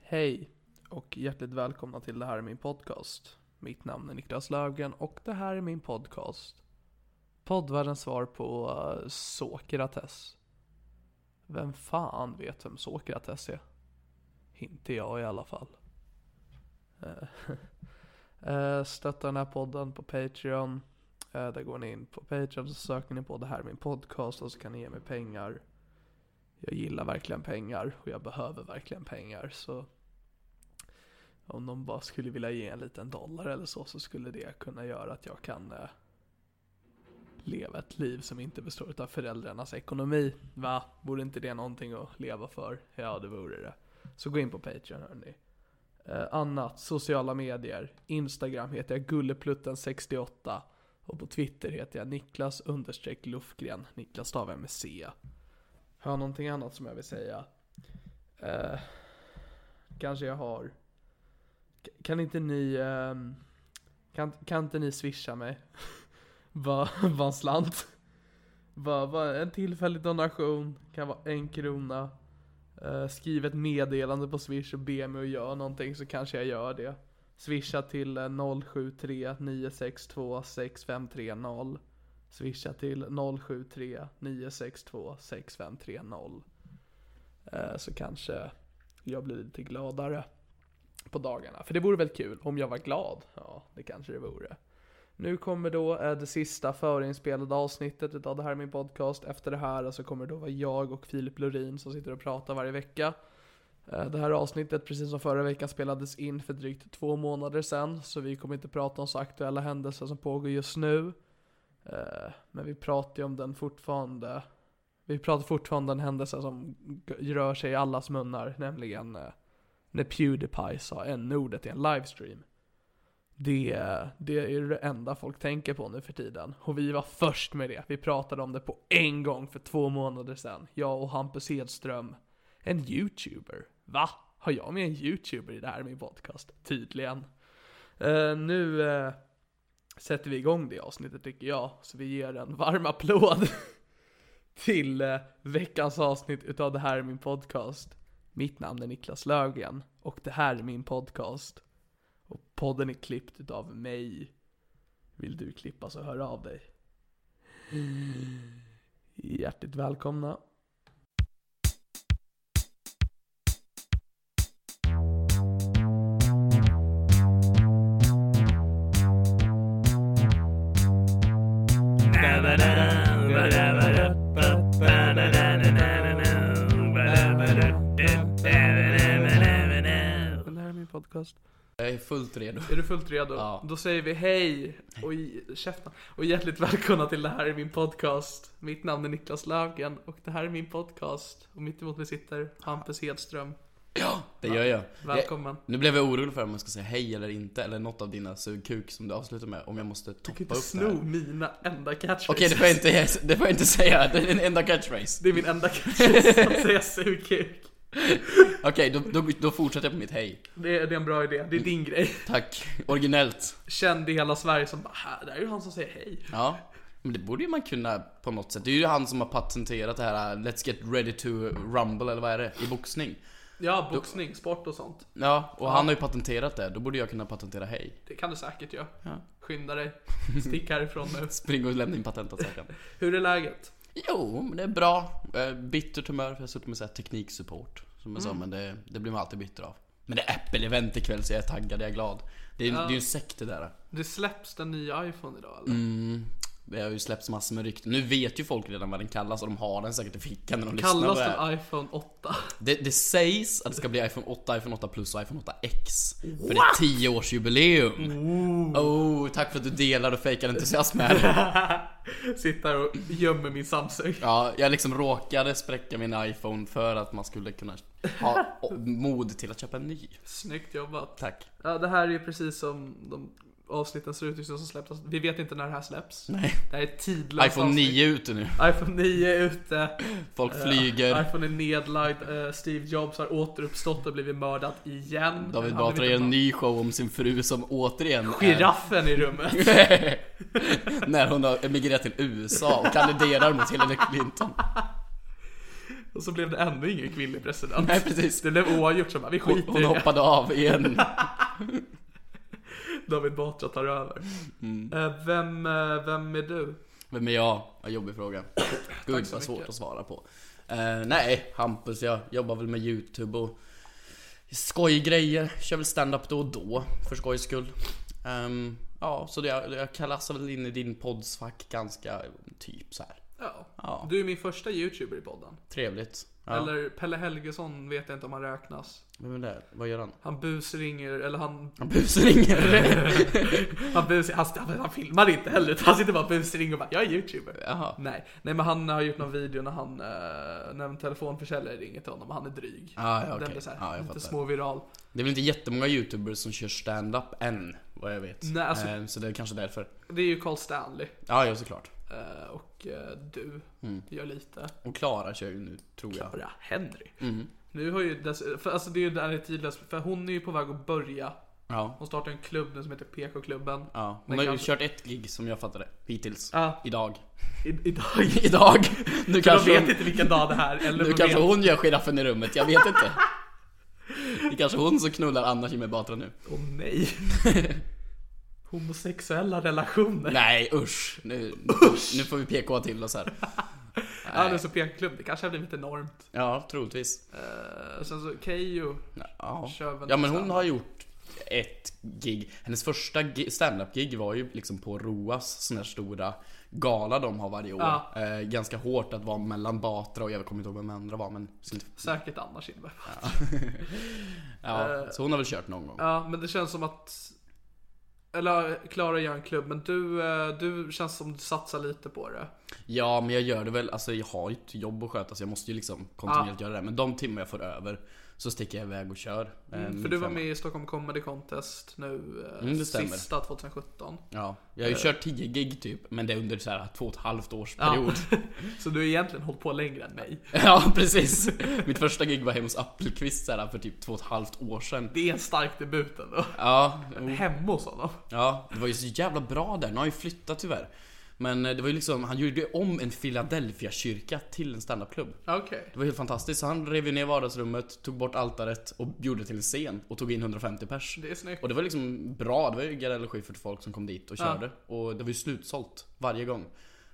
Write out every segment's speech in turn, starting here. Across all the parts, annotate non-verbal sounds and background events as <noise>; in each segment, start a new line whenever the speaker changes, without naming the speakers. Hej och hjärtligt välkomna till Det här är min podcast. Mitt namn är Niklas Löfgren och det här är min podcast. Poddvärldens svar på eh, Sokrates. Vem fan vet vem Sokrates är? Inte jag i alla fall. Eh, <laughs> eh, Stötta den här podden på Patreon. Eh, Där går ni in på Patreon så söker ni på Det här är min podcast och så kan ni ge mig pengar. Jag gillar verkligen pengar och jag behöver verkligen pengar så om de bara skulle vilja ge en liten dollar eller så så skulle det kunna göra att jag kan eh, leva ett liv som inte består av föräldrarnas ekonomi. Va? Vore inte det någonting att leva för? Ja, det vore det. Så gå in på Patreon hörni. Eh, annat, sociala medier. Instagram heter jag gullepluttan68 och på Twitter heter jag Niklas understreck Lufgren. Niklas stavar jag med C. Har jag någonting annat som jag vill säga? Eh, kanske jag har. K- Kan inte ni... ehm, kan, kan inte ni swisha mig? <laughs> Vad vad en slant? Vad vad en tillfällig donation? Kan vara en krona. Eh, skriv ett meddelande på swish och be mig att göra någonting så kanske jag gör det. Swisha till eh, 073 962 6530. Swisha till 073 962 6530. Eh, Så kanske jag blir lite gladare på dagarna. För det vore väl kul om jag var glad? Ja, det kanske det vore. Nu kommer då eh, det sista förinspelade avsnittet utav det här är min podcast. Efter det här eh, så kommer det då vara jag och Filip Lorin som sitter och pratar varje vecka. Eh, Det här avsnittet, precis som förra veckan, spelades in för drygt två månader sedan. Så vi kommer inte prata om så aktuella händelser som pågår just nu. Eh, Men vi pratar ju om den fortfarande. Vi pratar fortfarande om den händelse som g- rör sig i allas munnar, nämligen eh, när Pewdiepie sa n-ordet i en livestream. Det, det är ju det enda folk tänker på nu för tiden. Och vi var först med det. Vi pratade om det på en gång för två månader sedan. Jag och Hampus Hedström. En YouTuber. Va? Har jag med en YouTuber i det här med min podcast? Tydligen. Eh, nu... eh, sätter vi igång det avsnittet tycker jag. Så vi ger en varm applåd <laughs> till eh, veckans avsnitt utav Det här är min podcast. Mitt namn är Niklas Lögen och det här är min podcast. Och podden är klippt utav mig. Vill du klippa så hör av dig. Hjärtligt välkomna. Det här är min podcast.
Jag är fullt redo.
Är du fullt redo?
Ja.
Då säger vi hej och, i- käften, och hjärtligt välkomna till det här är min podcast. Mitt namn är Niklas Löfgren och det här är min podcast. Och mitt emot mig sitter Hampus Hedström.
Ja, det gör jag.
Välkommen.
Jag, nu blev jag orolig för om jag ska säga hej eller inte, eller något av dina sugkuk som du avslutar med, om jag måste
Du kan ju
toppa
inte
upp det här.
sno mina enda catchphrases.
Okej, det får jag inte, det får jag inte säga. Det är din enda catchphrase.
Det är min enda catchphrase, <laughs> att säga sugkuk.
Okej, då, då, då fortsätter jag på mitt hej.
Det är, det är en bra idé, det är
Mm.
din grej.
Tack. Originellt.
Känd i hela Sverige som bara, "Här, det här är ju han som säger hej.
Ja. Men det borde ju man kunna på något sätt. Det är ju han som har patenterat det här Let's get ready to rumble eller vad är det? I boxning.
Ja, boxning, sport och sånt.
Ja, och han har ju patenterat det. Då borde jag kunna patentera hej.
Det kan du säkert göra.
Ja.
Skynda dig, stick härifrån
<laughs>
nu.
Spring och lämna in patentansökan.
Hur är läget?
Jo, men det är bra. Eh, Bittert humör för jag har suttit med så här tekniksupport. Som jag sa, men det, det blir man alltid bitter av. Men det är Apple-event ikväll så jag är taggad, jag är glad. Det är, det är ju en sekt det där.
Det släpps den nya iPhone idag eller?
Mm. Det har ju släppts massor med rykten. Nu vet ju folk redan vad den kallas och de har den säkert i fickan när de lyssnar på
Kallas
det här.
den iPhone 8?
Det, det sägs att det ska bli iPhone 8, iPhone 8 plus och iPhone 8X. För det är 10-årsjubileum. Oh, tack för att du delar och fejkar entusiasm här.
<laughs> Sitter och gömmer min Samsung.
Ja, jag liksom råkade spräcka min iPhone för att man skulle kunna
<laughs>
ha o- mod till att köpa en ny.
<laughs> Snyggt jobbat.
Tack.
Ja, det här är precis som de avsnitten ser ut just nu som släpptes. Vi vet inte när det här släpps.
Nej.
Det här är ett tidlöst
iPhone
avsnitt.
9 är ute nu.
iPhone 9 är ute.
Folk
Eh,
<laughs> flyger.
iPhone är nedlagd. Eh, Steve Jobs har återuppstått och blivit mördad igen.
David
Han
Batra
blev
gör en
inte-
ny show om sin fru som återigen är...
Giraffen i rummet.
<laughs>
<laughs>
När hon har emigrerat till USA och kandiderar mot Hillary Clinton.
Och så blev det ändå ingen kvinnlig president.
Nej, precis.
Det blev oavgjort så bara, vi
Hon,
skiter
hon
i det.
hoppade av igen.
David Batra tar över.
Mm.
Eh, Vem, eh, vem är du?
Vem är jag? Vad jobbig
<coughs>
fråga. Gud vad svårt att svara på. Eh, nej, Hampus, jag jobbar väl med YouTube och skojgrejer. Kör väl stand-up då och då, för skojs skull. Ehm, ja, så det, jag klassar väl in i din poddsfack ganska typ så här.
Ja.
Ja.
Du är min första youtuber i podden.
Trevligt. Ja.
Eller Pelle Helgesson vet jag inte om han räknas.
Vem är det? Vad gör han?
Han busringer, eller han...
<laughs>
<laughs>
Han busringer.
Han, bus, han, han, han filmar inte heller, utan han sitter bara och busringer och bara “Jag är youtuber”.
Jaha.
Nej. Nej men han har gjort någon video när han, eh, när en telefonförsäljare ringer till honom och han är dryg.
Ah, ja,
Den
okej.
blir såhär,
Ja, jag
lite
fattar.
småviral.
Det är väl inte jättemånga YouTubers som kör stand-up än, vad jag vet.
Nej, alltså-
Ehm, så det är kanske därför.
Det är ju Carl Stanley
Ja, ja såklart.
eh, och eh, du
Mm.
gör lite.
Och Klara kör ju nu, tror jag.
Bara Henry.
Mm.
Nu har ju dess, för, alltså det är ju där det är tidlöst, för hon är ju på väg att börja.
Ja.
Hon startar en klubb nu som heter PK-klubben.
Ja,
Men
hon har ju
kanske-
kört ett gig som jag fattade hittills.
Ja.
Idag. <laughs>
I, idag.
Idag! Nu
Jag
kanske
vet
hon,
inte vilken dag det här eller
nu
vad
kanske
vet.
hon gör giraffen i rummet, jag vet inte. Det är kanske hon som knullar Anna Kinberg Batra nu.
Åh
<laughs>
nej. Homosexuella relationer.
Nej usch! Nu, nu får vi PK till oss här.
Ja, det är så PK-klubb. Det kanske har blivit enormt.
Ja, troligtvis.
Eh, Sen så Keyyo.
Ja,
Kör väl
ja men hon
standup.
har gjort ett gig. Hennes första gi- standup-gig var ju liksom på Roas sån här stora gala de har varje år.
Ja.
Eh, ganska hårt att vara mellan Batra och jag kommer inte ihåg vem andra var men jag ska inte
Säkert Anna Kinberg. Ja. eh,
Ja, så hon har väl kört någon gång.
men det känns som att... Eller Klara gör en klubb, men du, eh, du känns som du satsar lite på det.
Ja, men jag gör det väl. Alltså jag har ju ett jobb att sköta så jag måste ju liksom kontinuerligt göra det. Men de timmar jag får över så sticker jag iväg och kör. Eh,
Mm, För du var
fem-
med i Stockholm Comedy Contest nu eh,
Mm, det stämmer.
sista 2017.
Ja, jag har
Eh.
ju kört 10 gig typ, men det är under så här två och ett halvt års period. <laughs> Ja,
<laughs> Så du har egentligen hållit på längre än mig.
precis. Mitt första gig var hemma hos Appelqvist så här, för typ två och ett halvt år sedan.
Det är en stark debut ändå.
Ja, jo.
Hemma hos honom.
ja, det var ju så jävla bra där. Nu har han ju flyttat tyvärr. Men eh, det var ju liksom, han gjorde ju om en Philadelphia-kyrka till en standupklubb.
Okej.
Det var helt fantastiskt, så han rev ju ner vardagsrummet, tog bort altaret och gjorde till en scen och tog in 150 pers.
Det är snyggt.
Och det var liksom bra, det var ju Garell och Schyffert folk som kom dit och körde. Och det var ju slutsålt varje gång.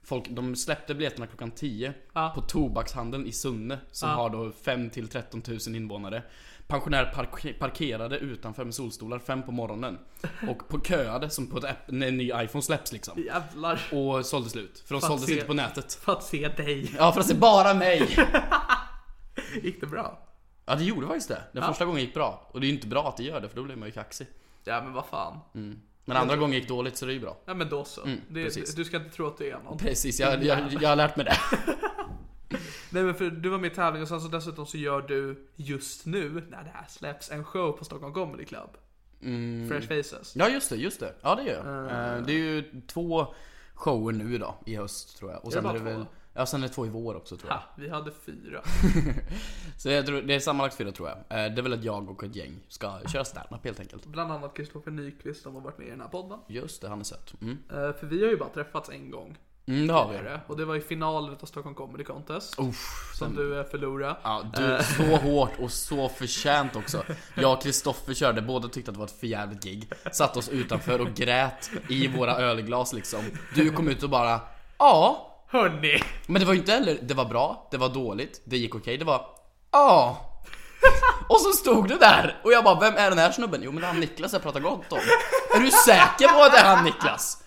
Folk, de släppte biljetterna klockan 10
Ja.
på Tobakshandeln i Sunne som
Ja.
har då 5 till 13 000 invånare. Pensionärer park- parkerade utanför med solstolar 5 på morgonen.
<laughs>
Och på köade som på ett app, när en ny iPhone släpps liksom.
Jävlar.
Och sålde slut, för de
Fan,
såldes
se.
inte på nätet.
För att se dig.
Ja för att se bara mig!
Gick det bra?
Ja det gjorde faktiskt det. Den första gången gick bra. Och det är ju inte bra att det gör det för då blir man ju kaxig.
Ja men vad fan.
Mm. Men andra gången gick dåligt så det är ju bra.
Ja men då så. det,
Mm, precis.
du ska inte tro att du är någon.
<laughs> Precis, jag, jag, jag har lärt mig det.
Nej men för du var med i tävlingen och sen så dessutom så gör du just nu, när det här släpps, en show på Stockholm Comedy Club.
Mm.
Fresh Faces.
Ja just det, just det. Ja det gör jag. Eh, Det är ju två shower nu då i höst tror jag. Och sen
bara
är det
två?
väl Ja sen är det två i vår också tror jag.
Ha, vi hade fyra.
Så jag tror, det är sammanlagt fyra tror jag. Eh, Det är väl att jag och ett gäng ska köra standup helt enkelt.
Bland annat Kristoffer Nyqvist som har varit med i den här podden.
Just det, han är söt. Mm.
Eh, för vi har ju bara träffats en gång.
Mm, det har vi.
Och det var i finalen av Stockholm Comedy Contest.
Uff,
som du eh, förlorade.
Ja, du, så hårt och så förtjänt också. Jag och Kristoffer körde, båda tyckte att det var ett förjävligt gig. Satt oss utanför och grät i våra ölglas liksom. Du kom ut och bara Ja,
Hörni!
men det var ju inte heller det var bra, det var dåligt, det gick okej, det var Ja. Och så stod du där och jag bara vem är den här snubben? Jo men det är han Niklas jag pratar gott om. Är du säker på att det är han Niklas?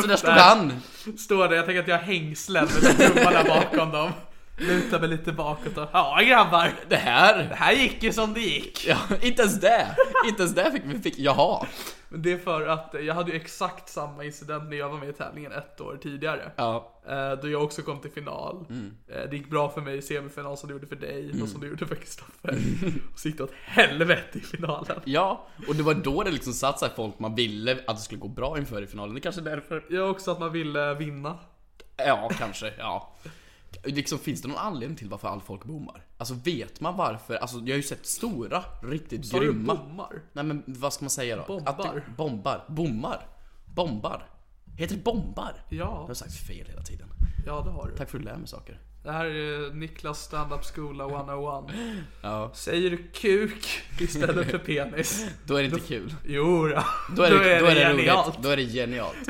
Så där stod han.
Står där, jag tänker att jag har hängslen med tummarna bakom dem. Lutar mig lite bakåt och ja grabbar.
Det här.
Det här gick ju som det gick.
Ja, inte ens det. Inte ens det fick vi fick, jaha.
Men det är för att eh, jag hade ju exakt samma incident när jag var med i tävlingen ett år tidigare.
Ja. Mm.
Eh, Då jag också kom till final. Eh, Det gick bra för mig i semifinal som det gjorde för dig och som det gjorde för
<laughs>
Kristoffer. Och så gick det åt helvete i finalen.
Ja, och det var då det liksom satt sig folk man ville att det skulle gå bra inför i finalen. Det kanske är därför.
Jag också att man ville vinna.
Ja, kanske. Ja. Liksom, finns det någon anledning till varför all folk bommar? Alltså vet man varför? Alltså jag har ju sett stora, riktigt
Sa du
grymma.
bommar?
Nej men vad ska man säga då?
Bombar.
det- bombar. Bommar. Bombar. Heter det bombar? Jag
Ja,
har sagt fel hela tiden.
ja det har du.
Tack för att du lär mig saker.
Det här är eh, Niklas standup skola 101.
Ja.
Säger du kuk istället för penis?
<laughs> Då är det inte kul.
Jo då.
Då är det, då är det,
genialt.
roligt. Då är
<laughs>
det genialt.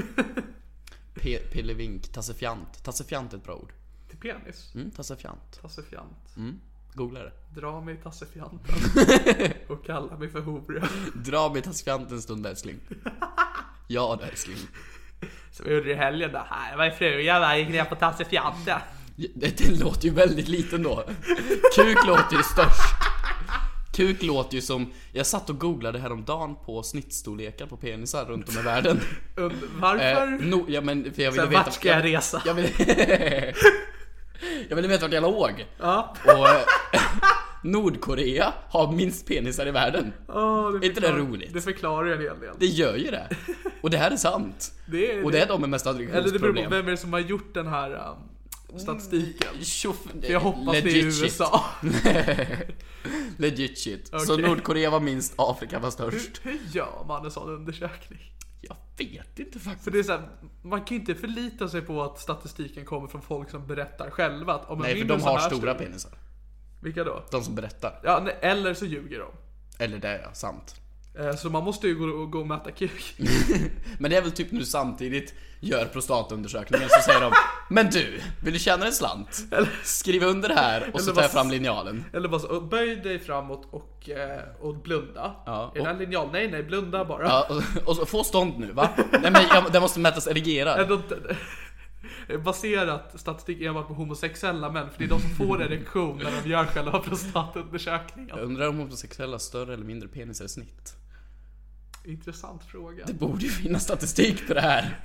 Pe- Pillevink, tassefjant. Tassefjant är ett bra ord.
Till penis?
Mm, tassefjant.
Tassefjant.
Googla det.
Dra mig i
<laughs>
tassefjanten. Och kalla mig för hora.
Dra mig i tassfjant en stund älskling. Ja du älskling.
Som jag gjorde i helgen där. Nej, Jag var i frugan där, gick ner på tassefjanten.
Det, det låter ju väldigt liten då. Kuk låter ju störst. Kuk låter ju som, jag satt och googlade häromdagen på snittstorlekar på penisar runt om i världen.
Und-
Eh,
Varför?
no, ja, men, för jag ville
Sen,
veta,
vart ska jag resa?
Jag ville, jag ville veta vart jag låg.
Ja.
Och eh, Nordkorea har minst penisar i världen.
Åh,
Är inte det
förklarar-
roligt?
Det förklarar ju en hel del.
Det gör ju det. Och det här är sant.
Det är
Och det är de med mest
Eller det beror på
adriktionsproblem.
vem är det som har gjort den här um, statistiken.
Tjoff,
Jag hoppas det är i USA.
<laughs> Legit shit. Så
Okej.
Nordkorea var minst, Afrika var
Hur,
störst.
hur gör man en sån undersökning?
Jag vet inte faktiskt.
För det är så här, man kan ju inte förlita sig på att statistiken kommer från folk som berättar själva att om en
Nej för
vind är
de
så
har
här
stora
stor-
penisar.
Vilka då?
De som berättar.
Ja, nej, eller så ljuger de.
Eller det är sant.
Eh, Så man måste ju gå och, gå och mäta kuk.
Mm. Men det är väl typ nu samtidigt gör prostataundersökningen så
<laughs>
säger de Men du, vill du tjäna en slant? Skriv under här och
Eller
så tar
vad-
jag
<laughs>
fram linjalen.
Eller bara så, "Och böj dig framåt och, eh, och blunda.
Ja,
Är det
och-
en linjal? Nej, nej, blunda bara. <laughs>
Ja, och, och så, få stånd nu va? Nej men jag, den måste mätas erigerad.
Är de inte- Baserat statistik enbart på homosexuella män, för det är de som får erektion när de gör själva
Jag
prostatundersökningen.
undrar om homosexuella har större eller mindre penisar i snitt?
Intressant fråga.
Det borde ju finnas statistik på det här.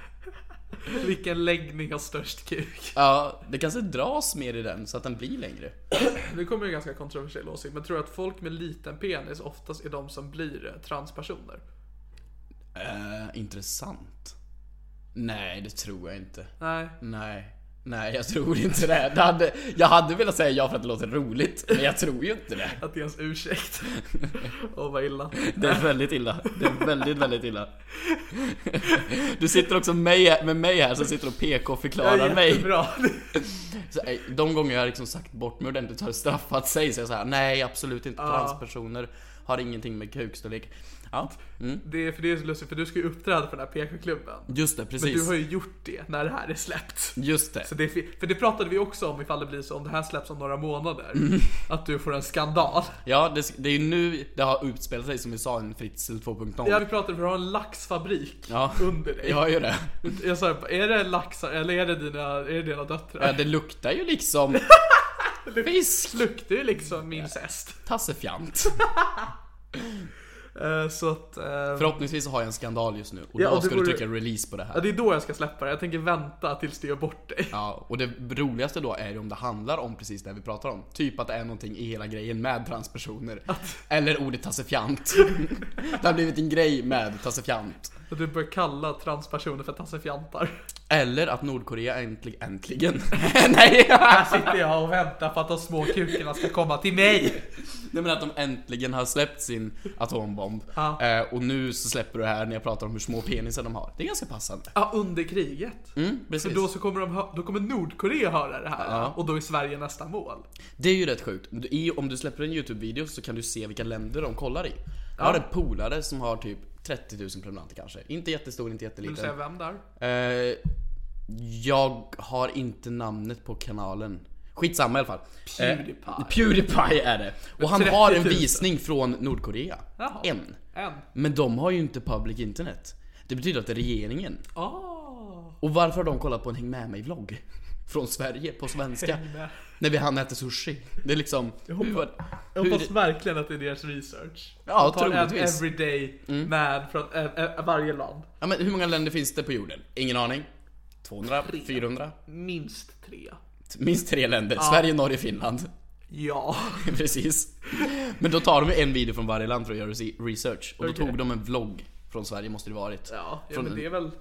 Vilken läggning har störst kuk?
Ja, det kanske dras mer i den så att den blir längre.
Nu kommer ju en ganska kontroversiell åsikt, men tror jag att folk med liten penis oftast är de som blir eh, transpersoner?
Eh, intressant. Nej, det tror jag inte.
Nej.
Nej. Nej, jag tror inte det. det hade, jag hade velat säga ja för att det låter roligt, men jag tror ju inte det.
Att det är ens
<laughs>
ursäkt. Åh vad illa.
Det är väldigt illa. Det är väldigt, väldigt illa. Du sitter också mig, med mig här som sitter och PK och förklarar mig.
jättebra. <laughs>
Så, eh, de gånger jag har liksom sagt bort mig ordentligt så har det straffat sig. Så jag säger nej absolut inte. Transpersoner har ingenting med kukstorlek. Ja, mm.
Det är, för det är så lustigt, för du ska ju uppträda för den här PK-klubben.
just det,
Men du
precis.
har ju gjort det när det här är släppt.
Just det.
Så det, är- för det pratade vi också om ifall det blir så, om det här släpps om några månader.
Mm.
Att du får en skandal.
Ja, det, det är ju nu det har utspelat sig som vi sa, en Fritzl 2.0.
Ja, vi pratade för du har en laxfabrik
Ja.
under dig.
Jag har ju det.
Jag sa, är det laxar eller är det dina, är det dina döttrar?
Ja, det luktar
<laughs>
ju liksom fisk,
luktar ju liksom incest.
tassefjant.
Eh, Så att... eh,
Förhoppningsvis så har jag en skandal just nu och
Ja,
då
och det
ska du
vore-
trycka release på det
Ja,
här.
det är då jag ska släppa det. Jag tänker vänta tills du gör bort dig.
Ja, och det roligaste då är ju om det handlar om precis det vi pratar om. Typ att det är någonting i hela grejen med transpersoner. Eller
<laughs>
ordet tassefjant. det har blivit en grej med tassefjant.
Att du börjar kalla transpersoner för tassefjantar.
Eller att Nordkorea äntligen... Äntligen? <laughs> Nej!
Här sitter jag och väntar på att de små kukarna ska komma till mig.
Nej men att de äntligen har släppt sin atombomb.
Ja.
Eh, och nu så släpper du det här när jag pratar om hur små penisar de har. Det är ganska passande.
Ja, under kriget.
Mm, precis.
För då, så kommer de hö- då kommer Nordkorea höra det här
Ja.
och då är Sverige nästa mål.
Det är ju rätt sjukt. Du- I, om du släpper en YouTube-video så kan du se vilka länder de kollar i. Jag har en polare som har typ 30 000 prenumeranter kanske. Inte jättestor, inte
Vill du
jätteliten.
säga vem där?
Eh, jag har inte namnet på kanalen. Skitsamma i alla fall.
Pewdiepie.
Eh, Pewdiepie är det. Och han
30 000.
har en visning från Nordkorea.
Jaha.
En.
En.
Men de har ju inte public internet. Det betyder att det är regeringen.
Ah.
Och varför har de kollat på en Häng med mig-vlogg? <laughs> Från Sverige, på svenska.
med.
När vi hann äta sushi. Det är liksom... hur var-
Jag
hur-
hoppas verkligen att det är deras research.
Ja,
De tar en
troligtvis. Mm.
everyday man från eh, eh, varje land.
Ja, men hur många länder finns det på jorden? Ingen aning. 200? 400?
Minst tre.
Minst tre länder. Sverige, Norge, Finland. <laughs>
Ja.
Precis. Men då tar de ju en video från varje land för att göra rese- research. Och då
Okej.
tog de en vlogg från Sverige måste det varit.
Ja, ja
Från
men
en-
det är väl...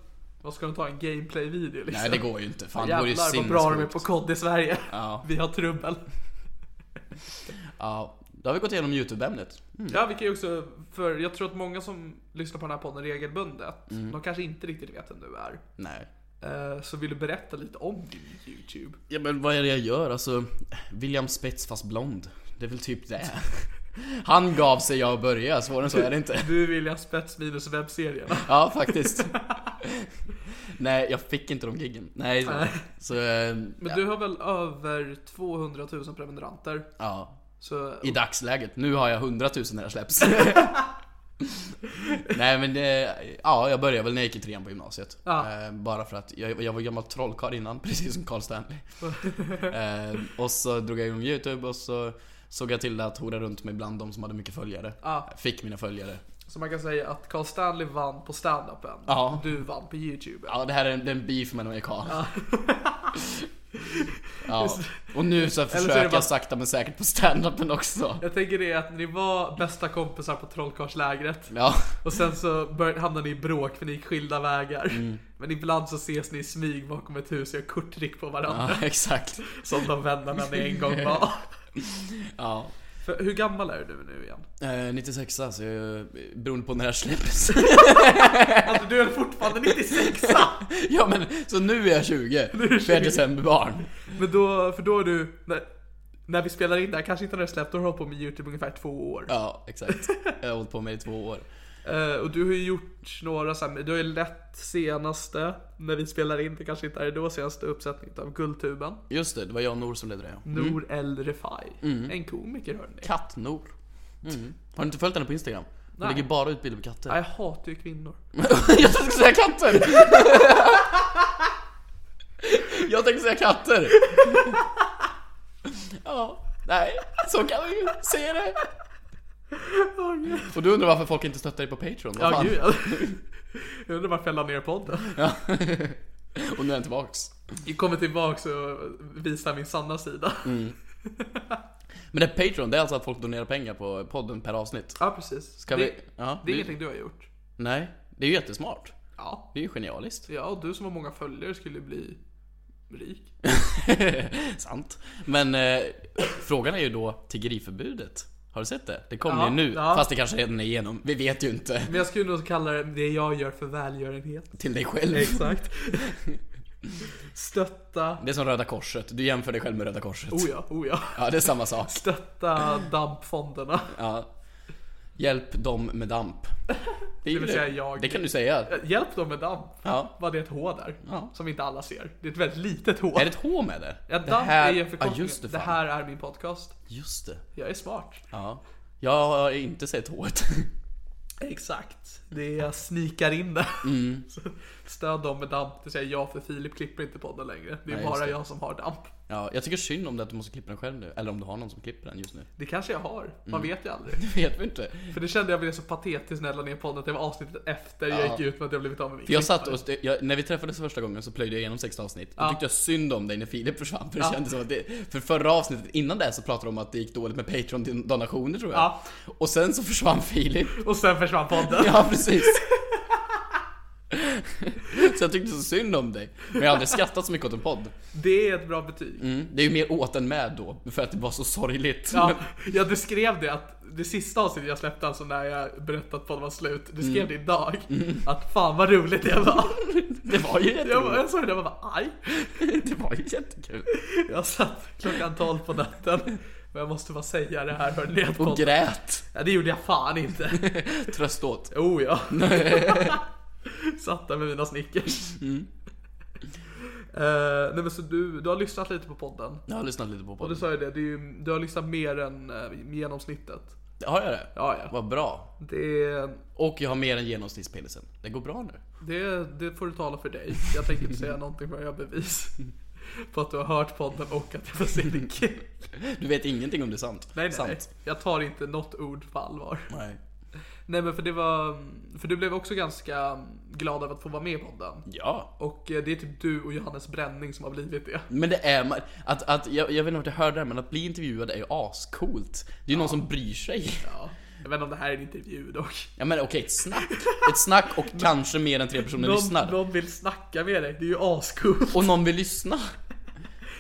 Vad ska de ta? En gameplay-video liksom?
Nej det går ju inte. Fan det vore ju
Jävlar vad bra de är
sinnessjukt.
på kod i Sverige.
Ja.
<laughs>
Mm.
Vi har trubbel.
Ja, då har vi gått igenom YouTube-ämnet.
Ja, vi kan ju också, för jag tror att många som lyssnar på den här podden regelbundet,
Mm.
de kanske inte riktigt vet vem du är.
Nej.
Eh, Så vill du berätta lite om din YouTube?
Ja men vad är det jag gör? Alltså, William Spets fast blond. Det är väl typ det. Han gav sig, jag började. Svårare än så är
<laughs>
det inte.
Du vill jag spets minus
<laughs>
webbserien.
Ja, faktiskt. Nej, jag fick inte de giggen. Nej, så... så eh,
Men du har väl över 200 000 prenumeranter?
ja.
Så
I dagsläget. Nu har jag 100 000 när
<laughs>
det släpps. Nej men det, ja jag började väl när jag gick i trean på gymnasiet.
Ja.
Eh, bara för att jag, jag var gammal trollkarl innan, <laughs> precis som
<laughs>
Carl Stanley. eh, och så drog jag igång YouTube och så såg jag till att hora runt mig bland de som hade mycket följare.
Ja.
Fick mina följare.
Så man kan säga att Carl Stanley vann på standupen.
Ja.
Du vann på YouTube.
Ja det här är en, det är en beef mellan mig och Carl. Ja. <laughs> Och nu så försöker
bara-
jag sakta men säkert på standupen också.
Jag tänker det att ni var bästa kompisar på trollkarlslägret.
Ja.
Och sen så bör, hamnade ni i bråk för ni gick skilda vägar.
Mm.
Men ibland så ses ni i smyg bakom ett hus och gör korttrick på varandra.
ja, <laughs> exakt.
Som de vännerna ni en gång
<laughs>
var.
Ja.
För, hur gammal är du nu igen?
Eh, 96 alltså, jag, beroende på när det här släpps.
Alltså du är fortfarande
<laughs>
96
ja men, så nu är jag 20.
är du
För jag
20.
är decemberbarn.
<laughs> Men då, för då är du, när, när vi spelar in det här, kanske inte när det släppt, då har du hållit på med YouTube ungefär två år.
Ja, exakt. Jag har hållit på med det i två år.
Eh, och du har ju gjort några så här, du har ju lett senaste, när vi spelar in, det kanske inte är då, senaste uppsättningen av Guldtuben.
Just det, det var jag och Nor som ledde det ja.
Nour El Refai.
Mm.
En komiker hörni.
Katt-Nor. Mm. Har du inte följt henne på Instagram? Hon lägger bara ut bilder på katter.
Jag hatar ju kvinnor.
<laughs> Jag tänkte
<laughs>
säga katter! jag tänkte säga
<laughs>
katter! Ja, nej, så kan vi ju se det. Och du undrar varför folk inte stöttar dig på Patreon? Vad
Ja,
<laughs> fan?
gud. Jag undrar varför jag la ner podden.
Ja. <laughs> Och nu är han tillbaks.
Jag kommer tillbaks och visar min sanna sida.
Mm. Men det är Patreon, det är alltså att folk donerar pengar på podden per avsnitt.
Ja, precis.
Ska
det,
vi- ja,
det är
vi-
ingenting du har gjort.
Nej, det är ju jättesmart.
Ja.
Det är ju genialiskt. <laughs>
ja, och du som har många följare skulle bli rik.
Sant. Men eh, frågan är ju då tiggeriförbudet. Har du sett det? Det kommer
Ja,
ju nu,
ja.
fast det kanske redan är igenom. Vi vet ju inte.
Men jag skulle nog kalla det, det jag gör för välgörenhet.
Till dig själv.
Exakt. Stötta.
<laughs> Det är som Röda Korset, du jämför dig själv med Röda Korset.
Oh ja, oh ja.
Ja, det är samma sak.
Stötta dampfonderna.
Ja. Hjälp dem
<laughs>
med damp. Det, är ju
vill säga jag.
det kan du säga.
Hjälp dem med damp.
Ja.
Vad det är ett H där.
Ja.
Som inte alla ser. Det är ett väldigt litet H.
Är det ett H med det?
Ja,
det
damp är ju en
ja,
förkortning.
just det,
det,
fan.
här är min podcast.
Just det.
Jag är smart.
Ja. Jag har inte sett H.
Exakt. Det jag snikar in det.
Mm.
<laughs> Så Stöd dem med damp. Det säger jag för Filip klipper inte podden längre. Det är
Nej, just
bara
det.
jag som har damp.
<laughs> Ja, jag tycker synd om det att du måste klippa den själv nu. Eller om du har någon som klipper den just nu. <laughs>
Det kanske jag har.
Mm.
Man vet ju aldrig.
Det vet vi inte.
För det kände jag blev så patetiskt när jag la ner podden. att Det var avsnittet efter jag gick ut med att jag blivit av med min
För jag
klippare.
satt och, jag, när vi träffades första gången så plöjde jag igenom 16 avsnitt. Då tyckte jag synd om dig när Filip försvann. För det kändes som att det, för förra avsnittet innan det så pratade de om att det gick dåligt med Patreon-donationer tror jag.
Ja.
Och sen så försvann Filip.
Och sen försvann podden.
Ja, precis. <laughs> så jag tyckte så synd om dig. Men jag har aldrig skrattat så mycket åt en podd.
Det är ett bra betyg.
Mm, det är ju mer åt än med då, för att det var så sorgligt.
Ja, jag beskrev det att det sista avsnittet jag släppte, alltså när jag berättade att podden var slut, du
Mm.
skrev det idag. Att fan vad roligt det var.
Det var ju
Jag, bara,
jätteroligt.
jag såg det och bara aj. <laughs>
Det var ju jättekul.
Jag satt klockan 12 på natten. Men jag måste bara säga det här hörni. att
Och
podden-
grät.
Ja, det gjorde jag fan
<laughs>
inte.
Tröst åt.
<laughs> Oh ja. Satt där med mina Snickers.
Mm.
Eh, nej men så du, du har lyssnat lite på podden.
Jag har lyssnat lite på
Och du
podden.
sa ju det, det är ju, du har lyssnat mer än eh, genomsnittet.
Har jag det?
Ja, ja.
Vad bra.
Det,
Och jag har mer än genomsnittspillisen. Det går bra nu.
det, det får du tala för dig. Jag tänker inte säga någonting förrän jag har bevis. På att du har hört podden och att jag får se din kul.
Du vet ingenting om det är sant.
Nej, nej, nej.
Mm. sant.
Jag tar inte något ord på allvar.
Nej.
Nej men för det var, för du blev också ganska glad över att få vara med i podden.
Ja.
Och eh, det är typ du och Johannes Bränning som har blivit det.
Men det är man- att, att jag, jag vet inte om du hörde det här, men att bli intervjuad är ju ascoolt. Det är ju någon som bryr sig.
Ja. Jag vet inte om det här är en intervju dock.
Ja men okej, ett snack. Ett snack
<laughs>
och kanske mer än tre personer
Någon,
lyssnar.
någon vill snacka med dig, det är ju ascoolt.
Och någon vill lyssna.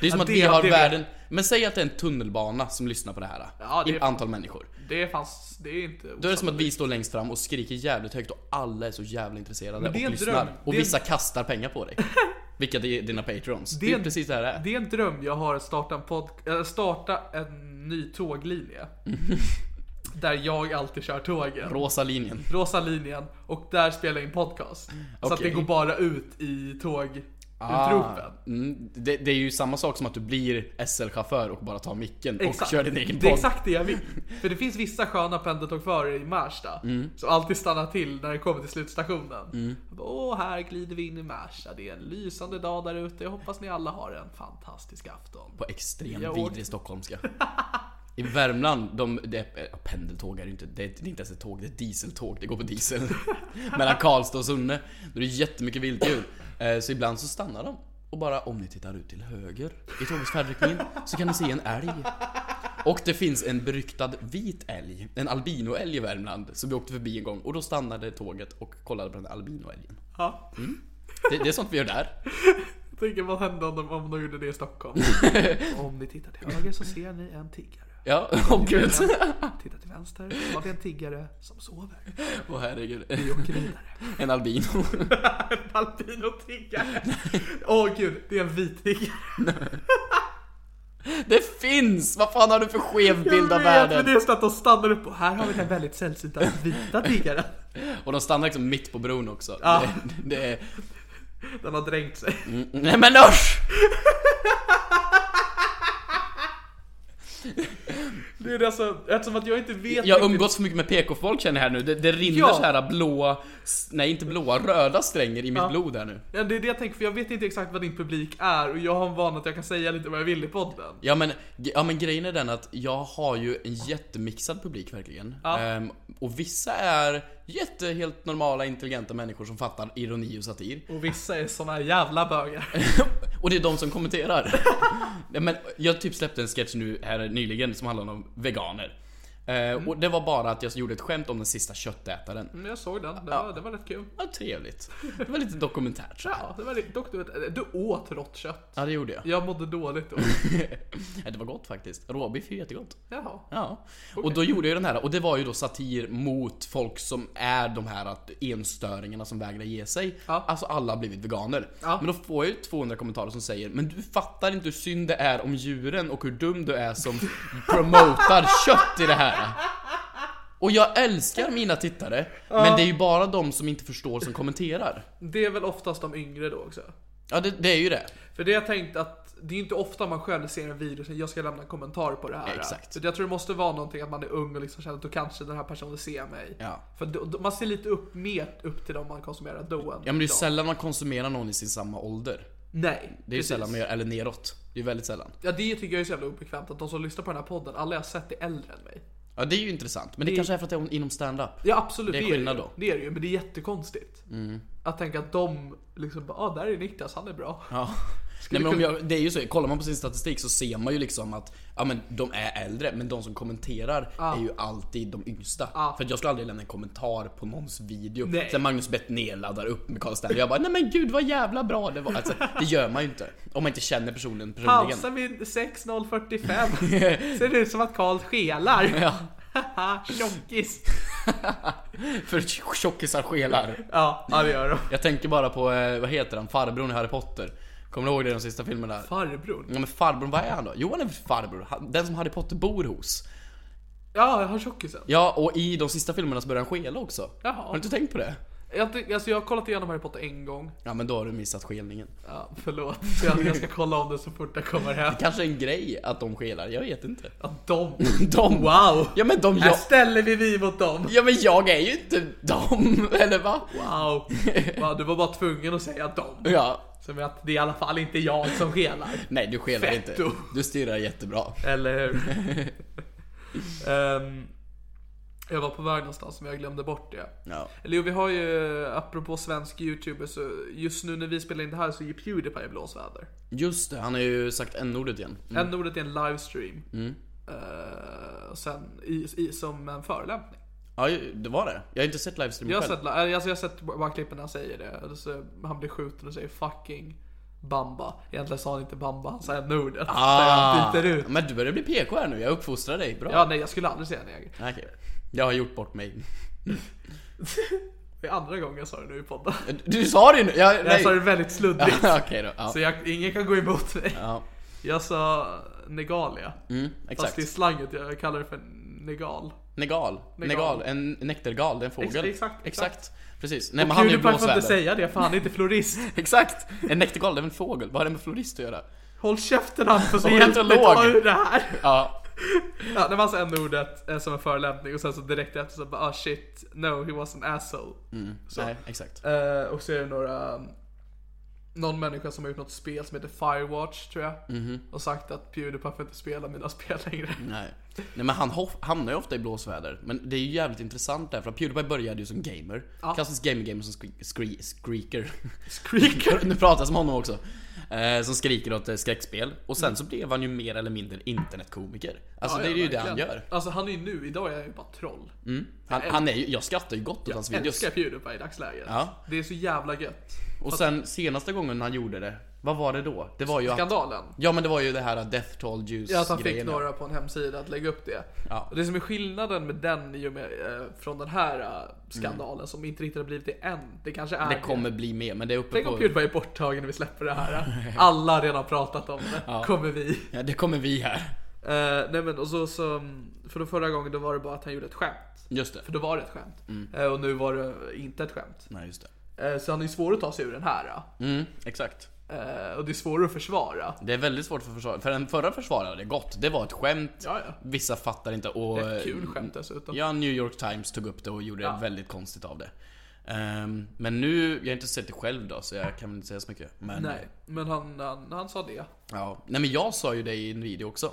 Det är som
Ja,
att
det-
vi har
det-
världen... Men säg att det är en tunnelbana som lyssnar på det här.
Ja, det-
I antal människor.
Det fanns, det är inte
Då är det som att vi står längst fram och skriker jävligt högt och alla är så jävla intresserade
Men det är
och
en
lyssnar.
dröm.
Och
Det är-
vissa kastar pengar
<laughs>
på dig. Vilka det är dina patrons. Det, är precis det här det är.
Det är en dröm jag har att starta en, pod, eller starta en ny
<laughs>
tåglinje. där jag alltid kör tågen.
Rosa linjen.
Rosa linjen. Och där spelar jag in podcast. Så att
Okej. Ah.
det går bara ut i tågutropen.
Mm, det, det är ju samma sak som att du blir SL-chaufför och bara tar micken och
Exakt.
kör din egen
Det är
podd.
exakt det jag
<laughs>
vill. För det finns vissa sköna pendeltågförare i Märsta
Mm.
som alltid stannar till när det kommer till slutstationen. Jag bara, Åh, här glider vi in i Märsta. Det är en lysande dag där ute. Jag hoppas ni alla har en fantastisk afton.
På extremt
Jag åker- <laughs>
vidrig stockholmska. I Värmland, de, det, är- ja, pendeltåg är det ju inte. Det är, det är inte ens ett tåg, det är ett dieseltåg. Det går
<laughs>
på diesel. Mellan Karlstad och Sunne. Då är det jättemycket vilddjur. Eh, Så ibland så stannar de. Och bara om ni tittar ut till höger i tågets färdriktning så kan ni se en älg. Och det finns en beryktad vit älg, en albinoälg i Värmland, som vi åkte förbi en gång. Och då stannade tåget och kollade på den albinoälgen.
Ja.
Det, det är sånt vi gör där.
Tänk vad hände om de, om de gjorde det i Stockholm? <laughs> om ni tittar till höger så ser ni en tiggare.
Ja, <laughs> åh gud.
Titta till vänster så har vi en tiggare som sover.
Åh herregud.
Vi <laughs> åker vidare.
En albino.
En albino-tiggare. Åh gud, det är en vit tiggare.
Det finns! Vad fan har du för skev bild av
Jag vet, men
världen?
det är så att de stannar upp och här har vi den väldigt sällsynta vita tiggaren.
Och de stannar liksom mitt på bron också.
Ja.
Det, det är...
Den har dränkt sig.
Nej men usch!
Det är alltså, eftersom att jag inte vet
Jag
riktigt-
umgås för mycket med PK-folk känner jag här nu. Det, det rinner
Ja.
så här blåa, s- nej inte blåa, röda strängar i mitt blod här nu.
Ja, det är det jag tänker, för jag vet inte exakt vad din publik är och jag har en vana att jag kan säga lite vad jag vill i podden.
Ja men, ja men grejen är den att jag har ju en jättemixad publik verkligen. Ehm, och vissa är jätte, helt normala, intelligenta människor som fattar ironi och satir.
Och vissa är såna här jävla bögar.
<laughs> Och det är de som kommenterar. <laughs> Nej, men jag typ släppte en sketch nu här nyligen som handlade om veganer. Eh, Och det var bara att jag gjorde ett skämt om den sista köttätaren.
Men jag såg den, det var, det var rätt kul.
Ja, trevligt. Det var lite dokumentärt så här.
Ja, det var lite, dock, du, vet, du åt rått kött.
Ja, det gjorde <laughs> jag.
Jag mådde dåligt då.
Ja, det var gott faktiskt. Råbiff är ju jättegott.
Jaha.
Ja. Och då gjorde jag den här, och det var ju då satir mot folk som är de här att enstöringarna som vägrar ge sig.
Ja.
Alltså alla har blivit veganer.
Ja.
Men då får jag ju 200 kommentarer som säger Men du fattar inte hur synd det är om djuren och hur dum du
<laughs>
är som promotar kött i det här. Och jag älskar mina tittare, men det är ju bara de som inte förstår som kommenterar.
Det är väl oftast de yngre då också.
Ja det, det är ju det.
För det jag tänkt att det är inte ofta man själv ser en video och säger jag ska lämna en kommentar på det här.
Exakt.
Så jag tror det måste vara någonting att man är ung och liksom känner att då kanske den här personen ser mig.
Ja.
För då, då, man ser lite upp, mer upp till dem man konsumerar då än
Ja men det är
idag.
sällan man konsumerar någon i sin samma ålder.
Nej,
Det är ju
precis.
sällan man gör, eller neråt. Det är väldigt sällan.
Ja det tycker jag är så jävla obekvämt att de som lyssnar på den här podden, alla jag sett är äldre än mig.
Ja det är ju intressant, men det, kanske är för att det är inom stand-up.
Ja absolut,
Det är
det,
skillnad
ju.
då. Mm.
det är det ju. Men det är jättekonstigt. Att tänka att de liksom bara, ah där är Niklas, han är bra.
Ja. Nej, men om jag, det är ju så, kollar man på sin statistik så ser man ju liksom att ja, men de är äldre men de som kommenterar är ju alltid de yngsta. För att jag skulle aldrig lämna en kommentar på någons video.
Nej.
Sen Magnus Bettner laddar upp med Karl Stanley jag bara nej men gud vad jävla bra det var. Alltså, det gör man ju inte. Om man inte känner personen personligen.
Pausar vid
<laughs>
6.045. Ser ut som att Karl skelar.
Ja, <laughs>
Haha, tjockis.
för tjockisar skelar.
Ja, ja det gör de.
Jag tänker bara på, eh, vad heter han, farbrorn i Harry Potter. Kommer du ihåg det i de sista filmerna?
Farbror?
Ja men farbrorn, vad är han då? Jo han är väl farbror, Han- den som Harry Potter bor hos.
Ja, jag har tjockisen.
Ja, och i de sista filmerna så börjar han skela också.
Jaha.
Har du inte tänkt på det?
Jag, ty- alltså, jag har kollat igenom Harry Potter en gång.
Ja, men då har du missat skelningen.
Ja, förlåt. Jag, jag ska kolla om det så fort jag kommer hem.
Kanske en grej att de skelar, jag vet inte. <laughs>
Ja, de.
De!
Wow!
Ja men de,
Här
jag...
ställer vi vi mot dem.
Ja men jag är ju inte dem, <laughs> eller va?
Wow. wow. Du var bara tvungen att säga dem.
Ja.
Som att det är i alla fall inte jag som skelar.
Nej, du skelar
Fetto.
inte. Du stirrar jättebra.
Eller
<laughs>
hur? Ehm, jag var på väg någonstans men jag glömde bort det.
Ja.
Eller jo, vi har ju, apropå svensk youtuber, så just nu när vi spelar in det här så är ju Pewdiepie i blåsväder.
Just det, han har ju sagt n-ordet igen.
Mm. N-ordet är en livestream.
Mm.
Eh, och sen i, i, som en förolämpning.
Ja, ju- det var det. Jag har inte sett livestreamen
Jag har,
Mm, själv.
sett, li- alltså jag har sett bara klippen när han säger det. Och Så han blir skjuten och säger 'fucking bamba'. Egentligen sa han inte bamba, han sa n-ordet. Där han byter ut.
Ah. Men du börjar bli PK här nu, jag uppfostrar dig bra.
Ja, nej jag skulle aldrig säga neger.
Okej. Jag har gjort bort mig.
Det är andra gången jag sa det nu i podden.
Du sa det ju nu! Jag,
Jag
<laughs>
sa det väldigt sluddigt.
Okej då. Ja.
Så jag, ingen kan gå emot mig.
Ja,
Jag sa negalia.
mm,
Fast
exakt.
i slanget, jag kallar det för negal.
Negal.
Negal.
Negal. En nektergal, det är en
Ex-
fågel.
exakt,
exakt. Precis. Nej men han är ju
Pewdiepie får inte
blåsväder.
säga det för han är inte florist.
Exakt! En nektergal, det är väl en fågel? Vad har det med florist att göra?
Håll käften Hampus och
Hon är
hjälp mig
etolog.
ta ur det här.
Ja.
Ja, det var alltså en ordet eh, som en förolämpning och sen så direkt efter så bara ah shit, no he was an asshole. Så.
Mm, Nej, exakt.
Eh, och så är det några, mm, någon människa som har gjort något spel som heter Firewatch tror jag. Och sagt att Pewdiepie får inte spela mina spel längre.
Mhm. Nej. Nej men han hof- hamnar ju ofta i blåsväder. Men det är ju jävligt intressant därför att Pewdiepie började ju som gamer. Klassisk gamer-gamer som skri- skri- skriker.
Skriker.
<laughs> nu pratar jag som honom också. Eh, som skriker åt eh, skräckspel. Och
Mm.
sen så blev han ju mer eller mindre internetkomiker. Alltså det är ju det han
verkligen.
gör.
Alltså han är ju nu, idag är han ju bara troll.
Han, han är ju, jag skrattar ju gott åt hans videos.
Älskar Pewdiepie i dagsläget.
Ja.
Det är så jävla gött.
Och sen senaste gången han gjorde det, vad var det då? Det var ju att,
Skandalen.
Ja men det var ju det här Death Toll Juice
Ja, att han fick
grejen, ja.
några på en hemsida att lägga upp det.
Ja.
Och det som är skillnaden med den i och med, eh, från den här eh, skandalen som inte riktigt har blivit det än. Det kanske är
Mm. Det kommer bli med men det är uppe
Tänk om
på...
Pewdiepie är borttagen när vi släpper det
<laughs>
här. eh. Alla har redan pratat om det. Kommer vi.
Ja, det kommer vi här.
Eh, nej men och så, så, för då förra gången då var det bara att han gjorde ett skämt.
Just det.
För då var det ett skämt.
Mm.
Eh, och nu var det inte ett skämt.
Nej just det.
Eh, så han är ju svår att ta sig ur den här. eh.
Mm, exakt.
Eh, och det är svårare att försvara.
Det är väldigt svårt för försvarare, för den förra försvararen det gott. Det var ett skämt.
Ja, ja.
Vissa fattar inte och...
Det är ett kul skämt dessutom.
Eh, Ja, New York Times tog upp det och gjorde
Ja.
väldigt konstigt av det. Ehm, men nu, jag har inte sett det själv då så jag kan väl inte säga så mycket. Men,
Nej, men han, han, han sa
Mm.
det.
Ja, nej men jag sa ju det i en
<laughs>
video också.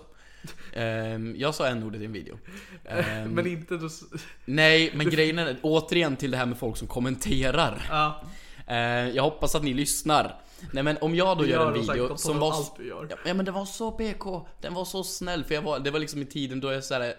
Ehm, jag sa en ordet i en video. Ehm,
Men inte då... <laughs>
nej, men grejen är återigen till det här med folk som kommenterar.
Ja.
Ehm, jag hoppas att ni lyssnar. Nej men om jag då
Du
gör
gör
en
det säkert,
video
de
som
tar
var...
allt du gör.
Ja men det var så PK, den var så snäll för jag var, det var liksom i tiden då jag såhär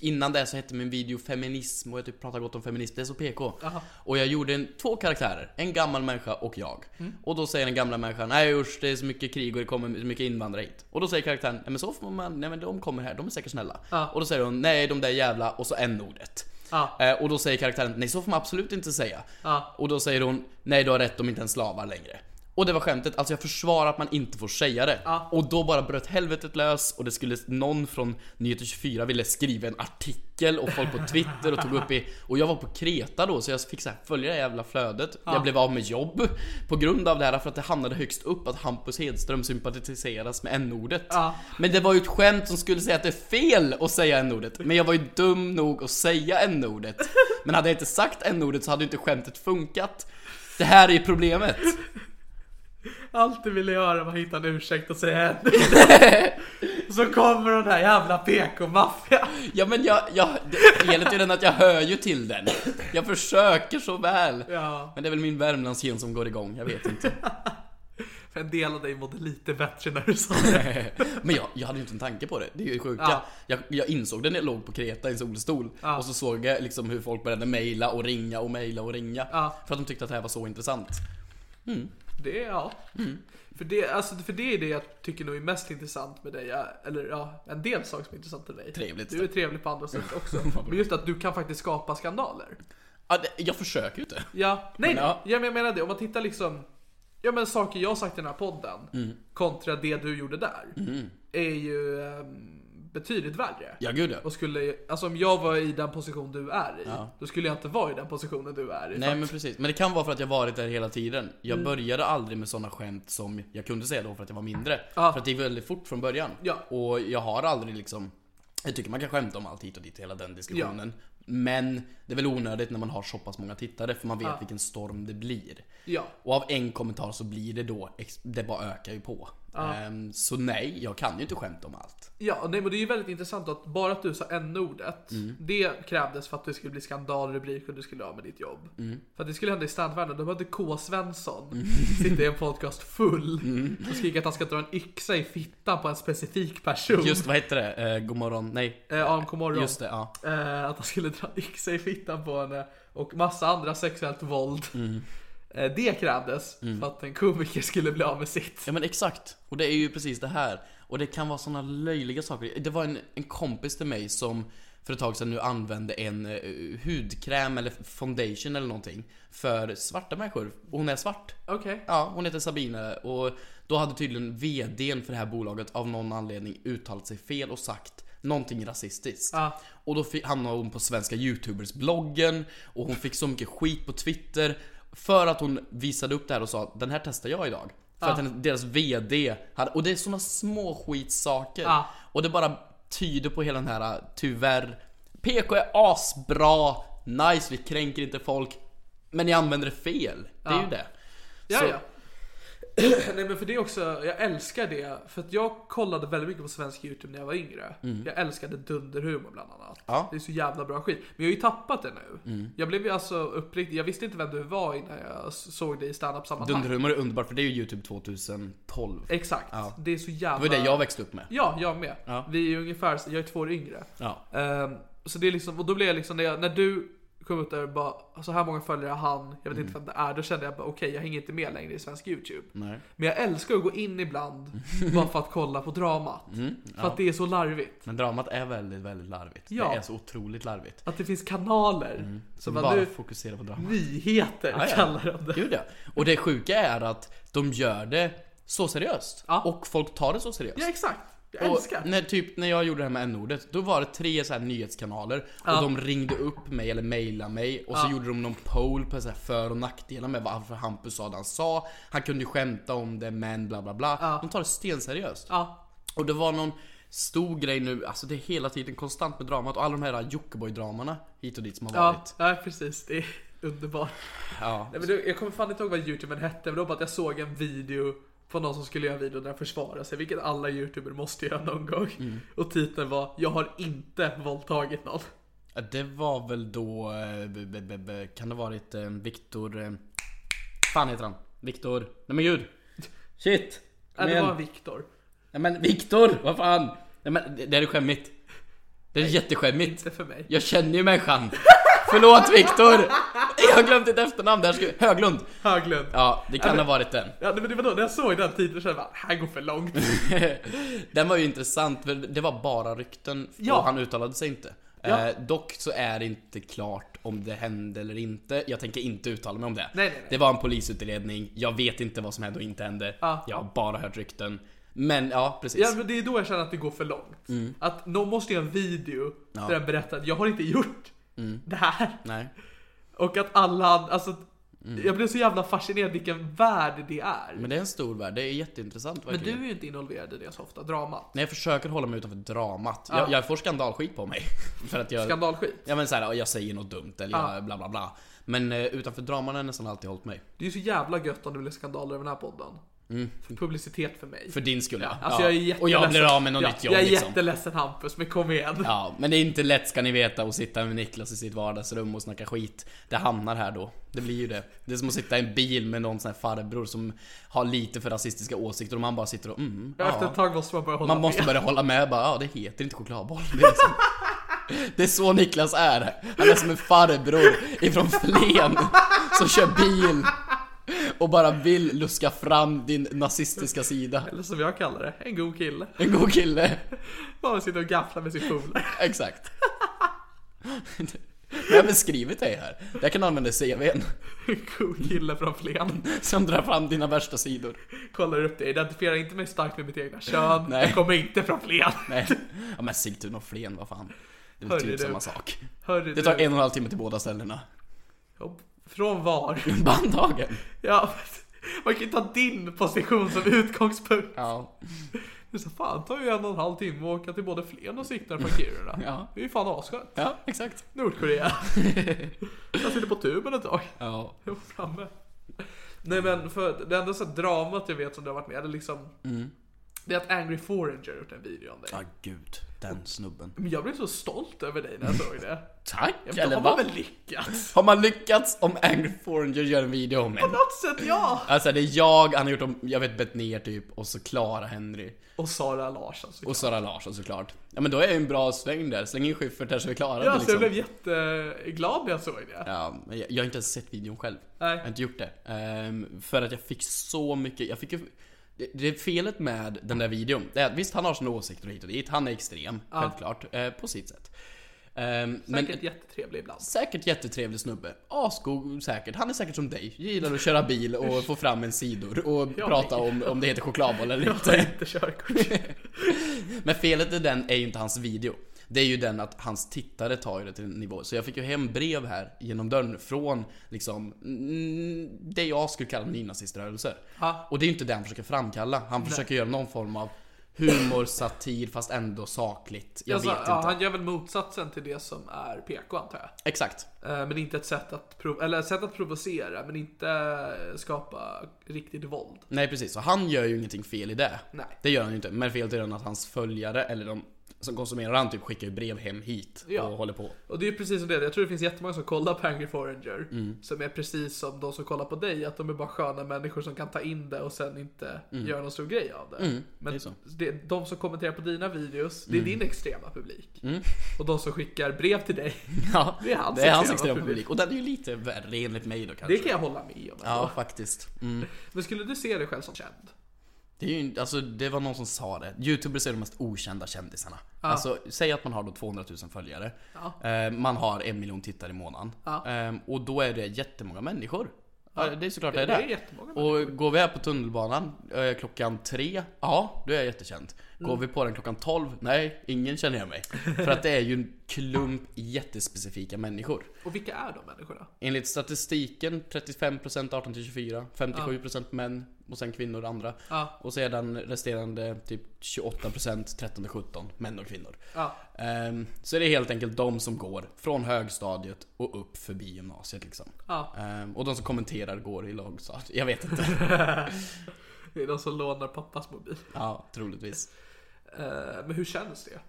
Innan det så hette min video feminism och jag typ pratade gott om feminism, det är så PK Och jag gjorde en, två karaktärer, en gammal människa och jag
Mm.
Och då säger den gamla människan Nej usch det är så mycket krig och det kommer så mycket invandrare hit Och då säger karaktären Nej men så får man, nej men de kommer här, de är säkert snälla Och då säger hon Nej de där jävla och så en ordet
Ja.
Eh, Och då säger karaktären Nej så får man absolut inte säga
Ja.
Och då säger hon Nej du har rätt, de är inte ens slavar längre Och det var skämtet, alltså jag försvarar att man inte får säga det. Och då bara bröt helvetet lös och det skulle någon från Nyheter 24 ville skriva en artikel och folk på Twitter och tog upp i... Och jag var på Kreta då så jag fick så här följa det jävla flödet. Jag blev av med jobb på grund av det här för att det hamnade högst upp att Hampus Hedström sympatiseras med n-ordet. Men det var ju ett skämt som skulle säga att det är fel att säga n-ordet. Men jag var ju dum nog att säga n-ordet. Men hade jag inte sagt n-ordet så hade ju inte skämtet funkat. Det här är ju problemet.
Allt du ville göra var att hitta en ursäkt och säga en.
<laughs>
Så kommer den här jävla PK-maffian.
Ja men jag, jag det- felet är den att jag hör ju till den. Jag försöker så väl.
Ja.
Men det är väl min Värmlandsgen som går igång, jag vet inte.
För en del av dig mådde lite bättre när du sa det.
<laughs> Men jag, jag hade ju inte en tanke på det, det är ju det sjuka.
Ja.
Jag, jag insåg det när jag låg på Kreta i en solstol. Och så såg jag liksom hur folk började mejla och ringa och mejla och ringa.
Ja.
För att de tyckte att det här var så intressant.
Det, ja.
Mm.
För, det, alltså, för det är det jag tycker nog är mest intressant med dig. ja, Eller ja, en del saker som är intressant med dig.
Trevligt.
Du är trevlig på andra sätt
<laughs>
också. Men just att du kan faktiskt skapa skandaler.
Ja, det, jag försöker ju inte.
Ja, nej,
Men ja.
ja. men jag menar det. Om man tittar liksom, ja men saker jag har sagt i den här podden
Mm.
kontra det du gjorde där. Är ju ehm, betydligt värre.
Ja gud ja.
Och skulle, alltså om jag var i den position du är i, då skulle jag inte vara i den positionen du är Mm. i.
Nej men precis, men det kan vara för att jag varit där hela tiden Jag började aldrig med sådana skämt som jag kunde säga då för att jag var mindre
Ja.
För att det gick väldigt fort från början
Ah. Ja.
Och jag har aldrig liksom Jag tycker man kan skämta om allt hit och dit, hela den diskussionen Men det är väl onödigt när man har så pass många tittare för man vet vilken storm det blir
Ja.
Och av en kommentar så blir det då, ex- det bara ökar ju på Ehm, Så nej, jag kan ju inte skämta om allt
Ja, nej men det är ju väldigt intressant att bara att du sa n-ordet,
Mm.
det krävdes för att det skulle bli skandalrubrik och du skulle ha med ditt jobb.
Mm.
För att det skulle hända i standvärlden, då hade K. Svensson sitta i en podcast full
Mm.
och skrika att han ska dra en yxa i fittan på en specifik person.
Just vad heter det? Eh, Godmorgon, nej
<laughs> Eh, AMK morgon.
Just det, ja
Eh, att han skulle dra yxa i fittan på henne och massa andra sexuellt våld.
Mm.
Eh, det krävdes för att en komiker skulle bli av med sitt.
Ja men exakt, och det är ju precis det här. Och det kan vara såna löjliga saker. Det var en, en kompis till mig som för ett tag sedan nu använde en eh, hudkräm eller foundation eller någonting för svarta människor. Och hon är svart.
Okej.
Ja, hon heter Sabine och då hade tydligen VDn för det här bolaget av någon anledning uttalat sig fel och sagt någonting rasistiskt.
Ja.
Och då fick, hamnade hon på svenska youtubers-bloggen och hon fick så mycket skit på Twitter för att hon visade upp det här och sa att den här testar jag idag. För att hennes- deras VD hade, och det är såna små skitsaker.
Ja.
Och det bara tyder på hela den här tyvärr, PK är asbra, nice, vi kränker inte folk. Men ni använder det fel. Det är ju det.
Ja,
Så-
ja. <clears throat> Nej men för det är också, jag älskar det. För att jag kollade väldigt mycket på svensk YouTube när jag var yngre. Jag älskade dunderhumor bland annat.
Mm. Ja. Mm.
Det är så jävla bra skit. Men jag har ju tappat det nu. Jag blev ju alltså uppriktig, jag visste inte vem du var innan jag såg dig i standup sammanhang.
Dunderhumor är underbart för det är ju Youtube 2012. Det
Exakt. Det är så jävla...
var ju det jag växte upp med.
Ja, jag med.
Ja.
Vi är ju ungefär, jag är två år yngre.
Ja.
Ehm, så det är liksom, och då blev jag liksom, när, jag, när du kom ut där och bara så här många följare har han, jag vet
Mm.
inte vem det är. Då kände jag bara okej, jag hänger inte med längre i svensk YouTube.
Nej.
Men jag älskar att gå in
<laughs>
ibland bara för att kolla på dramat.
Mm,
För att det är så larvigt.
Men dramat är väldigt, väldigt larvigt.
Ja.
Det är så otroligt larvigt.
Att det finns kanaler som
Mm. Som
bara
bara
nu,
fokuserar på drama.
nyheter
Ja, ja.
kallar de det.
Gud ja. Och det sjuka är att de gör det så seriöst.
Ja.
Och folk tar det så seriöst.
Ja exakt, jag
Och
älskar.
när, typ, när jag gjorde det här med n-ordet, då var det tre så här nyhetskanaler
Ja.
och de ringde upp mig eller mejlade mig och så gjorde de någon poll på så här för och nackdelar med varför Hampus sa det han sa. Han kunde ju skämta om det men bla bla bla. De tar det stenseriöst.
Ja.
Och det var någon stor grej nu, alltså det är hela tiden konstant med dramat och alla de här Jockiboi-dramarna hit och dit som har
Ja,
varit.
ja, precis. Det är underbart.
Ja.
Nej, men du, jag kommer fan inte ihåg vad youtuben hette, men det var bara att jag såg en video på någon som skulle göra en video där den försvarade sig, vilket alla youtuber måste göra någon gång.
Mm.
Och titeln var “Jag har inte våldtagit någon”.
Det var väl då, eh, b- b- b- b- kan det varit eh, Viktor... eh, fan heter han? Viktor... Nej men gud! Shit! Kom
Nej, det
igen.
var Viktor.
Nej men Viktor, vad fan! Nej men det, det är skämmigt. Det är jätteskämmigt.
Inte för mig.
Jag känner ju människan. Förlåt Viktor! Jag har glömt ditt efternamn där. Ska... Höglund.
Höglund.
Ja, det kan ha varit den.
Ja, nej, men det var då när jag såg den titeln så jag bara, här går för
<laughs>
långt.
Den var ju intressant, för det var bara rykten
Ja.
och han uttalade sig inte.
Ja.
Eh, dock så är det inte klart om det hände eller inte. Jag tänker inte uttala mig om det.
Nej, nej, nej.
Det var en polisutredning, jag vet inte vad som hände och inte hände.
Ja.
Jag har bara hört rykten. Men ja, precis.
Ja, men det är då jag känner att det går för långt.
Mm.
Att någon måste göra en video där jag berättar att jag har inte gjort
Mm.
det här.
Nej.
Och att alla, alltså jag blev så jävla fascinerad vilken värld det är. Men,
Mm. Men det är en stor värld, det är jätteintressant
du
verkligen.
är ju inte involverad i det så ofta, dramat.
Nej, jag försöker hålla mig utanför dramat. Jag, jag får skandalskit på mig. <laughs> För att jag...
Skandalskit.
Ja men såhär, jag säger något dumt eller
Ja.
jag, bla bla bla. Men eh, utanför draman har jag nästan alltid hållit mig.
Det är ju så jävla gött om det blir skandaler över den här podden. För publicitet för mig.
Mm. För din skull ja.
Alltså
ja.
jag är jätteledsen.
Och jag blir av med något
Ja,
nytt jobb
Jag är
liksom.
jätteledsen Hampus, men kom igen.
Ja, men det är inte lätt ska ni veta att sitta med Niklas i sitt vardagsrum och snacka skit. Det hamnar här då. Det blir ju det. Det är som att sitta i en bil med någon sån här farbror som har lite för rasistiska åsikter och man bara sitter och mm,
Efter
ja.
ett tag måste man börja hålla
Man måste börja hålla med bara, ja det heter inte chokladboll. Det är, liksom, <laughs> det är så Niklas är. Han är som en farbror ifrån Flen som kör bil och bara vill luska fram din nazistiska sida.
med. Eller som jag kallar det, en god kille.
En god kille.
Bara sitter och gafflar med sin polare.
Exakt. Jag har beskrivit dig här. Jag kan använda CVn
En god kille från Flen.
som drar fram dina värsta sidor.
Kollar upp det, identifierar inte mig starkt med mitt egna kön.
Nej.
Jag kommer inte från Flen.
Nej. Ja men Sigtuna och Flen, vad fan. Det är väl
Hörru
typ
du.
samma sak.
Hörru
Det tar en och en halv timme till båda ställena.
du. Från var?
Bandhagen.
Ja, <laughs> men man kan ju ta din position som utgångspunkt.
Ja.
Det är så fan, det tar ju en och en halv timme att åka till både Flen och Sigtuna från Kiruna.
<laughs> Ja.
Det är ju fan asskönt.
Ja, exakt. <laughs>
Nordkorea. Jag sitter på tuben ett tag.
Ja.
Jag var framme. Nej men för det enda så här dramat jag vet som du har varit med eller liksom Det är att Angry Foreigner har gjort en video om dig.
Mm. Ja, gud. Den snubben.
Men jag blev så stolt över dig när jag såg det.
Tack!
Ja, men
eller
de har
vad?
väl lyckats?
Har man lyckats om Angry Foreigner gör en video om
På
en?
något sätt ja!
Alltså det är jag, han har gjort om, jag vet Betnér typ, och så Clara Henry.
Och Sara Larsson såklart.
Och Sara Larsson såklart. Ja men då är jag en bra sväng där, släng in Schyffert där så är vi klara
Ja,
det,
alltså, jag
liksom.
blev jätteglad när jag såg det.
Ja, men jag, jag har inte ens sett videon själv.
Nej.
Jag har inte gjort det. Ehm, för att jag fick så mycket, jag fick ju... Det, det är felet med den där videon, det är att visst han har sina åsikter hit och dit, han är extrem, självklart, eh, på sitt sätt. Ehm, men
Säkert jättetrevlig ibland.
Säkert jättetrevlig snubbe. Asgo säkert. Han är säkert som dig. Gillar att köra bil och få fram en sidor och prata om, om det heter chokladboll eller
Jag har
inte.
inte körkort.
<laughs> Men felet i den är ju inte hans video. Det är ju den att hans tittare tar ju det till en nivå. Så jag fick ju hem brev här genom dörren från liksom mm, det jag skulle kalla nynaziströrelser.
Ja.
Och det är ju inte det han försöker framkalla. Han försöker göra någon form av humor, satir fast ändå sakligt. Jag
Alltså,
vet inte.
ja, han gör väl motsatsen till det som är PK antar jag.
Exakt.
Eh, Men inte ett sätt att, prov- eller ett sätt att provocera, men inte eh, skapa riktigt våld.
Nej precis, så han gör ju ingenting fel i det.
Nej.
Det gör han ju inte, men felet är den att hans följare eller de som konsumerar han typ skickar ju brev hem hit
Ja.
och håller på.
Och det är ju precis som det, jag tror det finns jättemånga som kollar på Angry Foreigner
Mm.
Som är precis som de som kollar på dig, att de är bara sköna människor som kan ta in det och sen inte göra någon stor grej av det Men
Mm. det är så. Mm.
det- de som kommenterar på dina videos, det är din extrema publik Och de som skickar brev till
<laughs>
dig,
Ja,
Det är hans
det är hans
extrema
extrema
publik.
publik. Och den är ju lite värre enligt mig då kanske.
det kan jag hålla med om
Ja,
ändå.
faktiskt. Mm.
Men skulle du se dig själv som känd?
Det, är ju, alltså, det var någon som sa det. Youtubers är de mest okända kändisarna. Alltså, säg att man har då 200 000 följare. Eh, man har en miljon tittare i månaden. Eh, och då är det jättemånga människor. Ja, det är såklart det är
Det
det.
är jättemånga
och går vi här på tunnelbanan eh, klockan tre, ja, då är jag jättekänd. Går vi på den klockan 12, nej, ingen känner igen mig. För att det är ju en klump jättespecifika människor.
Och vilka är de människorna?
Enligt statistiken 35% 18-24, 57% män och sen kvinnor och andra.
Ja.
Och sedan resterande typ 28% 13-17 män och kvinnor.
Ja.
Ehm, så är det helt enkelt de som går från högstadiet och upp förbi gymnasiet liksom.
Ja.
Ehm, och de som kommenterar går i lågstadiet. Jag vet inte.
<laughs> Det är de som lånar pappas mobil
ja, troligtvis.
Eh, Men hur känns det?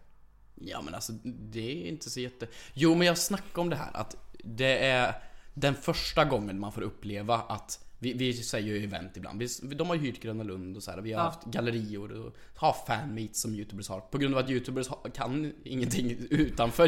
Ja men alltså det är inte så jätte... Jo men jag snackade om det här att det är den första gången man får uppleva att vi, vi säger ju event ibland. Vi, de har ju hyrt Gröna Lund och så här. Vi har haft gallerior och har fanmeets som youtubers har. På grund av att youtubers har, kan ingenting utanför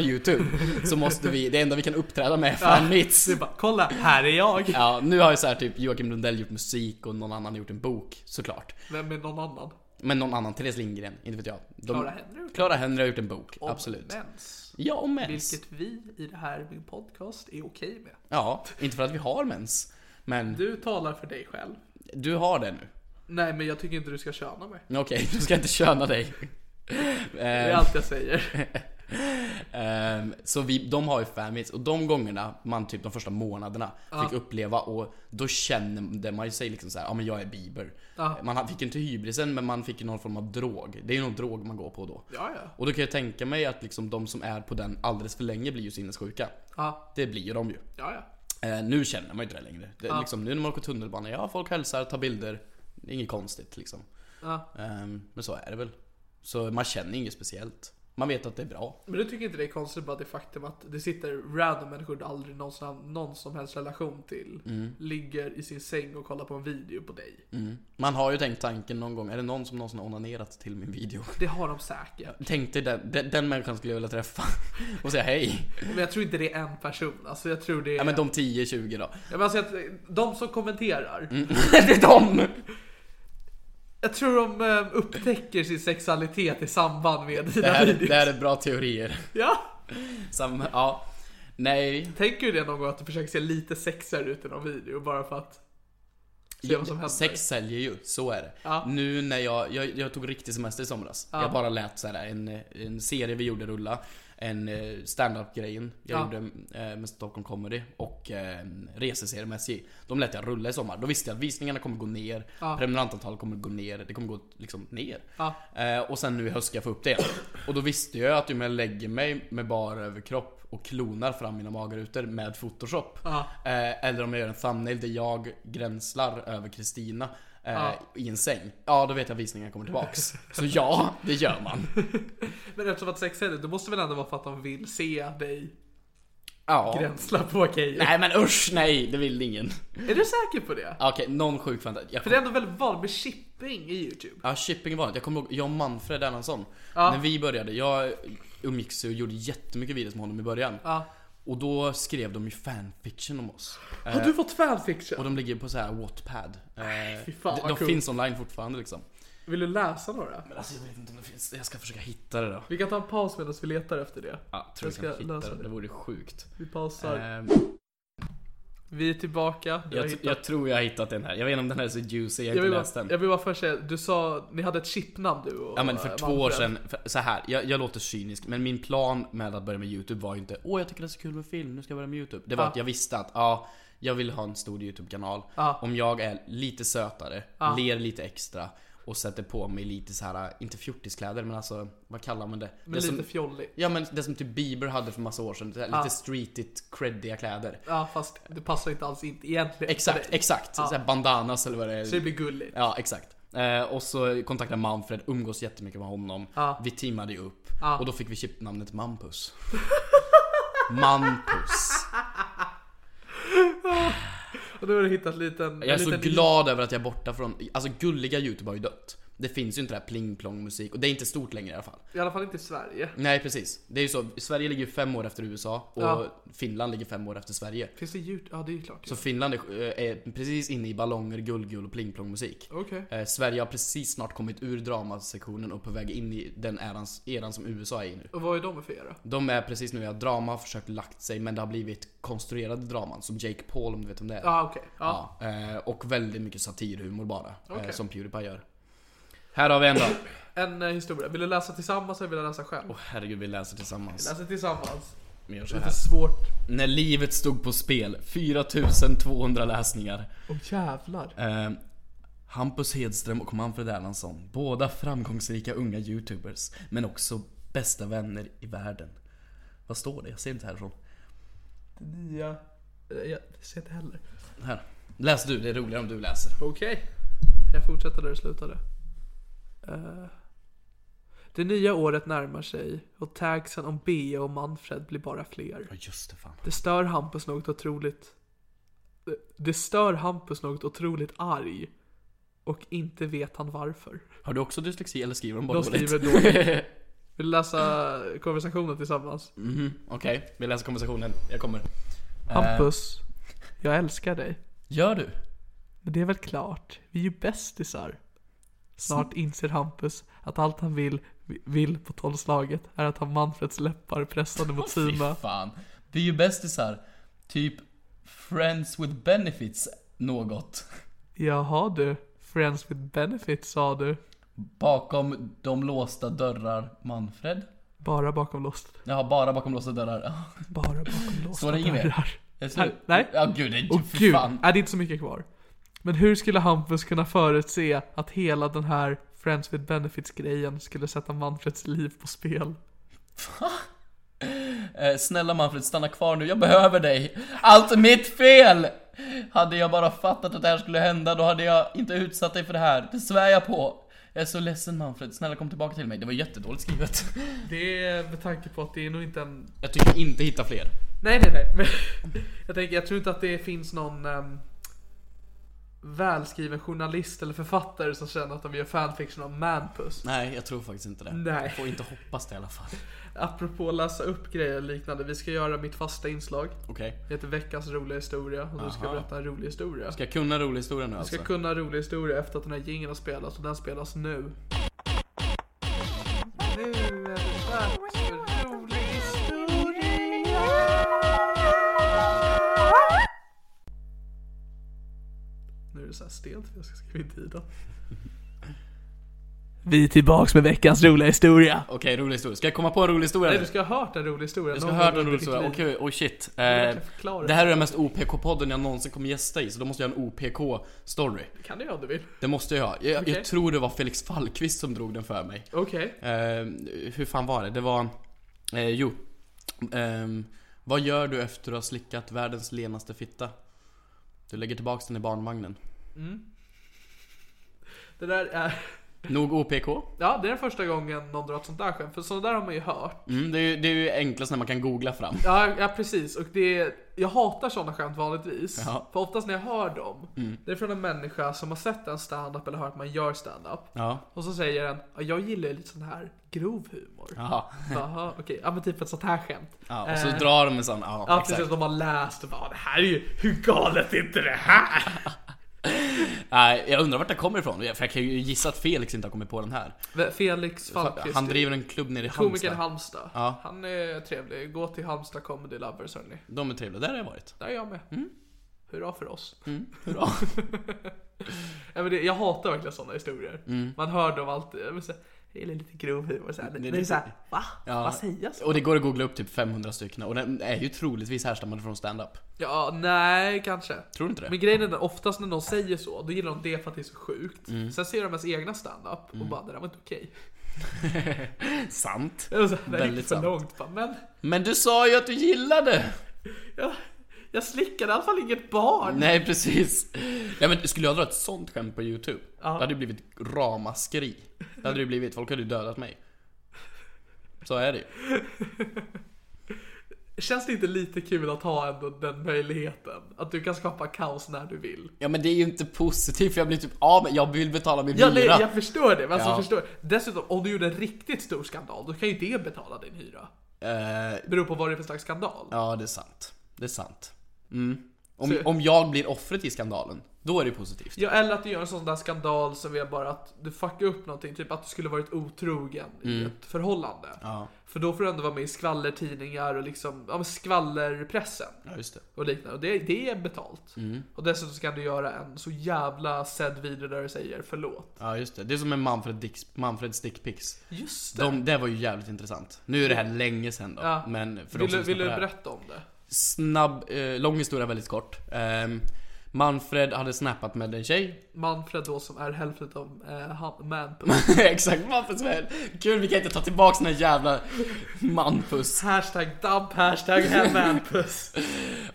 <laughs>
youtube så måste vi, det enda vi kan uppträda med är fanmeets.
Du bara, kolla, här är
<laughs>
jag!
Ja, nu har ju så här typ Joakim Lundell gjort musik och någon annan har gjort en bok såklart.
Vem är någon annan?
Men någon annan, Therese Lindgren, inte vet jag. De,
Clara Henry har gjort
Clara Henry har gjort en bok,
Om
absolut.
Mens.
Ja, om mens.
Vilket vi i det här min podcast är okej med.
Ja, inte för att vi har mens. Men du,
Du talar för dig själv.
har det nu.
Nej men jag tycker inte du ska köna mig.
Okej, du ska inte köna dig.
Det
Eh.
är allt jag
<laughs>
säger.
Ehm, så vi, de har ju fanmeets och de gångerna man typ de första månaderna fick uppleva och då kände man ju sig liksom såhär, ja men jag är Bieber.
Ja.
Man ha- fick ju inte hybrisen men man fick ju någon form av drog. Det är ju någon drog man går på då.
Ja, ja.
Och då kan jag tänka mig att liksom de som är på den alldeles för länge blir ju sinnessjuka.
Ja,
Det blir ju de ju.
ja, ja.
Eh, nu känner man ju inte det längre. Det, liksom, nu när man åker tunnelbana, ja folk hälsar, tar bilder. Det är inget konstigt liksom.
Ja.
Ehm, men så är det väl. Så man känner inget speciellt. Man vet att det är bra.
Men du tycker inte det är konstigt bara det faktum att det sitter random människor du aldrig någonsin haft någon som helst relation till.
Mm.
Ligger i sin säng och kollar på en video på dig.
Man har ju tänkt tanken någon gång, är det någon som någonsin har onanerat till min video? <laughs>
Det har de säkert.
Tänk dig den, den, den människan skulle jag vilja träffa <laughs> och säga hej.
Men jag tror inte det är en person. Alltså jag tror det är...
Ja men de 10-20 då. <laughs>
jag menar, alltså, jag- de som kommenterar.
det är de!
Jag tror de eh, upptäcker sin sexualitet i samband med
Det
dina
här,
videos.
det här är bra teorier.
Ja.
Sam, ja. Nej.
Tänker du det någon gång att du försöker se lite sexigare ut i någon video bara för att se vad som händer?
Sex säljer ju, så är det.
Ja.
Nu när jag, jag, jag tog riktig semester i somras. Jag bara lät så här, en, en serie vi gjorde rulla, en eh, stand-up-grejen jag
Ja.
gjorde eh, med Stockholm Comedy och eh, en reseserie med SJ. De lät jag rulla i sommar. Då visste jag att visningarna kommer gå ner, prenumerantantalet kommer gå ner, det kommer gå liksom ner.
Ja.
Eh, och sen nu i höst ska jag få upp det igen. Och då visste jag att om jag lägger mig med bara överkropp och klonar fram mina magrutor med photoshop.
Ja.
Eh, eller om jag gör en thumbnail där jag gränslar över Kristina eh,
Ja.
i en säng. Ja, då vet jag att visningen kommer tillbaks. Så ja, det gör man.
Men eftersom att sex är det, då måste väl ändå vara för att de vill se dig
Ja.
gränsla på grejer?
Nej men usch, nej, det vill ingen.
Är du säker på det?
Okej, någon sjuk fantasi. Jag
För det är ändå väldigt vanligt med shipping i YouTube.
Ja, shipping var det. Jag kommer ihåg, jag och Manfred Erlandsson.
Ja.
När vi började, jag umgicks och gjorde jättemycket videos med honom i början.
Ja.
Och då skrev de ju fanfiction om oss.
Har du fått
Eh. Och
fanfiction?
de ligger på så här Wattpad. Eh,
fy fan,
de
vad
de
coolt.
finns online fortfarande liksom.
Vill du läsa några?
Men alltså jag vet inte om det finns, jag ska försöka hitta det då.
Vi kan ta en paus medan vi letar efter det.
Ja, tror jag
Jag
ska
ska
hitta
lösa
det.
det.
Det vore sjukt.
Vi pausar.
Ehm,
Vi är tillbaka. Du har
jag,
hittat-
jag tror jag har hittat den här. Jag vet inte om den här är så juicy, jag har
jag, vill
inte
bara,
läst den.
jag vill bara först säga, du sa, ni hade ett chipnamn du och
Ja men för
eh,
två år
Manfred.
sedan, för, så här, jag, jag låter cynisk men min plan med att börja med YouTube var ju inte Åh jag tycker det är så kul med film, nu ska jag börja med YouTube. Det var
Ja.
att jag visste att ja, jag vill ha en stor YouTube-kanal.
Ja.
Om jag är lite sötare, ler lite extra och sätter på mig lite så här inte fjortiskläder men alltså vad kallar man det?
Men
det
lite
som,
fjollig.
Ja men det som typ Bieber hade för massa år sedan, det här, lite streetigt, creddiga kläder.
Ja fast det passar inte alls inte egentligen
Exakt,
för dig.
exakt! Så här bandanas eller vad det är.
Så det blir gulligt.
Ja, exakt. Eh, och så kontaktade Manfred, umgås jättemycket med honom. Vi teamade ju upp. Och då fick vi
<laughs>
chipnamnet Mampus. Mampus.
Och nu har du hittat en liten...
Jag är
en
så
liten
glad över att jag är borta från... Alltså gulliga YouTube har ju dött. Det finns ju inte det här pling plong musik och det är inte stort längre i alla fall.
I alla fall inte i Sverige.
Nej precis. Det är ju så, Sverige ligger ju fem år efter USA och
Ja.
Finland ligger fem år efter Sverige.
Finns det ljud? Ja det är ju klart.
Så Finland är, eh, är precis inne i ballonger, gullgull och pling plong musik.
Okej.
Eh, Sverige har precis snart kommit ur dramasektionen och på väg in i den ärans, eran som USA är i nu.
Och vad är de för era?
De är precis nu, ja, drama har försökt lagt sig men det har blivit konstruerade draman som Jake Paul om du vet om det är.
Ja ah, okej. Ja.
Ja, eh, och väldigt mycket satirhumor bara, eh,
Okej.
som Pewdiepie gör. Här har vi en då.
En eh, historia. Vill du läsa tillsammans eller vill du läsa själv?
Åh herregud, vi läser tillsammans.
Läsa tillsammans.
Vi gör
Det
så
är
Oh, här.
lite svårt.
När livet stod på spel, 4200 läsningar.
Åh jävlar.
Eh, Hampus Hedström och Manfred Erlandsson, båda framgångsrika unga youtubers, men också bästa vänner i världen. Vad står det? Jag ser inte härifrån.
Nya... Eh, Jag ser inte heller.
Här. Läs du, det är roligare om du läser.
Okej. Jag fortsätter där du slutade. Eh. det nya året närmar sig och tagsen om Bea och Manfred blir bara fler.
Ja just det fan.
Det stör Hampus något otroligt... Det stör Hampus något otroligt arg. Och inte vet han varför.
Har du också dyslexi eller skriver de bara
De
dåligt?
skriver
<laughs>
dåligt. Vill du läsa konversationen tillsammans?
Mm. Mhm, Okej, vi läser konversationen. Jag kommer.
Hampus, jag älskar dig.
Gör du?
Men det är väl klart, vi är ju bästisar. Snart inser Hampus att allt han vill, vill på tolvslaget är att ha Manfreds läppar pressade <laughs> mot sina.
fan. Vi är ju bästisar. Typ Friends with Benefits något.
Jaha du, Friends with benefits sa du.
Bakom de låsta dörrar Manfred.
Bara bakom låst.
Jaha, bara bakom låsta dörrar.
<laughs>
Ja.
Bara bakom låsta
Så det är inget mer?
dörrar.
Är det slut?
Nej.
Ja gud, det är
Åh
fy
gud,
fan.
är det är inte så mycket kvar. Men hur skulle Hampus kunna förutse att hela den här Friends with benefits-grejen skulle sätta Manfreds liv på spel?
Eh, snälla Manfred, stanna kvar nu, jag behöver dig! Allt är mitt fel! Hade jag bara fattat att det här skulle hända, då hade jag inte utsatt dig för det här. Det svär jag på! Jag är så ledsen Manfred, snälla kom tillbaka till mig. Det var jättedåligt skrivet.
Det är med tanke på att det är nog inte en...
<laughs> Jag tycker inte hitta fler.
Nej, nej, nej. Men <laughs> jag, tänker, jag tror inte att det finns någon ehm, välskriven journalist eller författare som känner att de gör fanfiction om Manpus.
Nej, jag tror faktiskt inte det.
Nej.
Jag får inte hoppas det i
<laughs>
alla fall.
Apropå läsa upp grejer och liknande, vi ska göra mitt fasta inslag.
Okej.
Det heter veckans roliga historia och du ska berätta en rolig historia.
Ska jag kunna en rolig historia nu
Du
alltså?
ska kunna en rolig historia efter att den här jingeln har spelats och den spelas nu. Nu är det dags för rolig historia! Nu är det så här stelt för jag ska skriva in tiden. Vi är tillbaks med veckans roliga historia!
Okej, rolig historia. Ska jag komma på en rolig historia
Nej
nu?
du ska ha hört en rolig historia.
Jag ska
någon
höra
gång
en rolig
under ditt
historia,
liv.
okej, oh shit. Eh,
verkligen förklara.
det här är den mest OPK-podden jag någonsin kommer gästa i, så då måste jag ha en OPK-story.
Det kan du göra om du vill.
Det måste jag ha. Jag,
Okej.
jag tror det var Felix Fallqvist som drog den för mig.
Okej.
Eh, hur fan var det? Det var... Eh, jo. Ehm, vad gör du efter du har slickat världens lenaste fitta? Du lägger tillbaks den i barnvagnen.
Det där är...
Nog OPK?
Ja, det är den första gången någon drar ett sånt där skämt. För sådana där har man ju hört.
Mm, det, är, ju- det är ju enklast när man kan googla fram.
Ja, ja precis. Och det är, jag hatar sådana skämt vanligtvis.
Ja. Mm.
För oftast när jag hör dem, det är från en människa som har sett en stand-up eller hört man gör stand-up.
Ja.
Och så säger den, ja, jag gillar ju lite sån här grov humor.
Jaha.
Jaha, okej. Ja men typ ett sånt här skämt.
Ja, och så
Eh,
drar de en sån, ja,
Ja
exakt.
precis, de har läst och bara det här är ju, hur galet är inte det här?
Nej, jag undrar vart det kommer ifrån, för jag kan ju gissa att Felix inte har kommit på den här.
Felix Falkqvist,
Han driver en klubb nere i
komikern i
Halmstad.
Halmstad.
Ja.
Han är trevlig, gå till Halmstad Comedy Lovers hörni.
De är trevliga, där har jag varit.
Där är jag med.
Mm.
Hurra för oss.
Bra.
Ja, men det, jag hatar verkligen sådana historier.
Mm.
Man hör dem alltid. Jag vill säga, det är lite grov humor. Så här. Det, är
lite-
så här, va?
Ja.
Vad sägs?
Och det går att googla upp typ 500 stycken och den är ju troligtvis härstammande från stand-up.
Ja, nej kanske.
Tror du inte det?
Men grejen är att oftast när någon säger så, då gillar de det för att det är så sjukt.
Mm.
Sen ser de ens egna stand-up och bara, det där var inte okej. <laughs>
Sant.
Jag var så här, Alltså, Det där
Väldigt
gick för
sant.
långt. Bara, men
Men du sa ju att du gillade!
jag, jag slickade i alla fall inget barn.
Nej precis. Nej men skulle jag dra ett sånt skämt på YouTube? Det hade ju blivit ramaskri. Det hade det ju blivit, folk hade ju dödat mig. Så är det ju.
Känns det inte lite kul att ha ändå den möjligheten? Att du kan skapa kaos när du vill.
Ja men det är ju inte positivt för jag blir typ av med, jag vill betala min
Ja,
hyra.
det, jag förstår det. Men alltså,
Ja.
förstår. Dessutom, om du gjorde en riktigt stor skandal, då kan ju det betala din hyra.
Eh,
beror på vad det är för slags skandal.
ja det är sant. Det är sant. Mm. Om,
Så-
om jag blir offret i skandalen, då är det ju positivt.
Ja, eller att du gör en sån där skandal som är bara att du fuckar upp någonting, typ att du skulle varit otrogen i ett förhållande. För då får du ändå vara med i skvallertidningar och liksom, ja men skvallerpressen
Ja just det.
och liknande. Och det, det är betalt. Och dessutom så kan du göra en så jävla sedd video där du säger förlåt.
Ja just det, det är som med Manfred Dicks, Manfreds dickpics.
Just det!
De, det var ju jävligt intressant. Nu är det här länge sen då,
Ja.
men för
vill
de
du,
som
vill du
lyssnar på det här.
berätta om det?
Snabb, eh, lång historia väldigt kort. Ehm, Manfred hade snappat med en <laughs> tjej.
Manfred då som är hälften av eh, han- Manpuss.
Exakt, Manfreds väl. Gud vi kan inte ta tillbaka den här jävla Manfus.
hashtag dump, hashtag hem <laughs> Manpuss.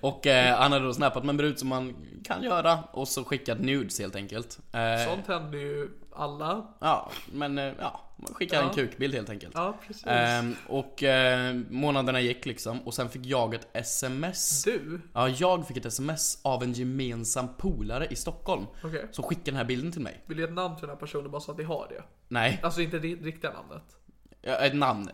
Och eh, han hade då snappat med en brud som man kan göra och så skickat nudes helt enkelt. Eh,
Sånt händer ju alla.
ja, men eh, ja, man skickar en kukbild helt enkelt.
Ja, precis.
Ehm, och eh, månaderna gick liksom och sen fick jag ett sms.
Du?
Ja, jag fick ett sms av en gemensam polare i Stockholm
Okej.
som skickade den här bilden till mig.
Vill ge ett namn till den här personen bara så att vi har det?
Nej,
Alltså inte det riktiga namnet.
ja, ett namn.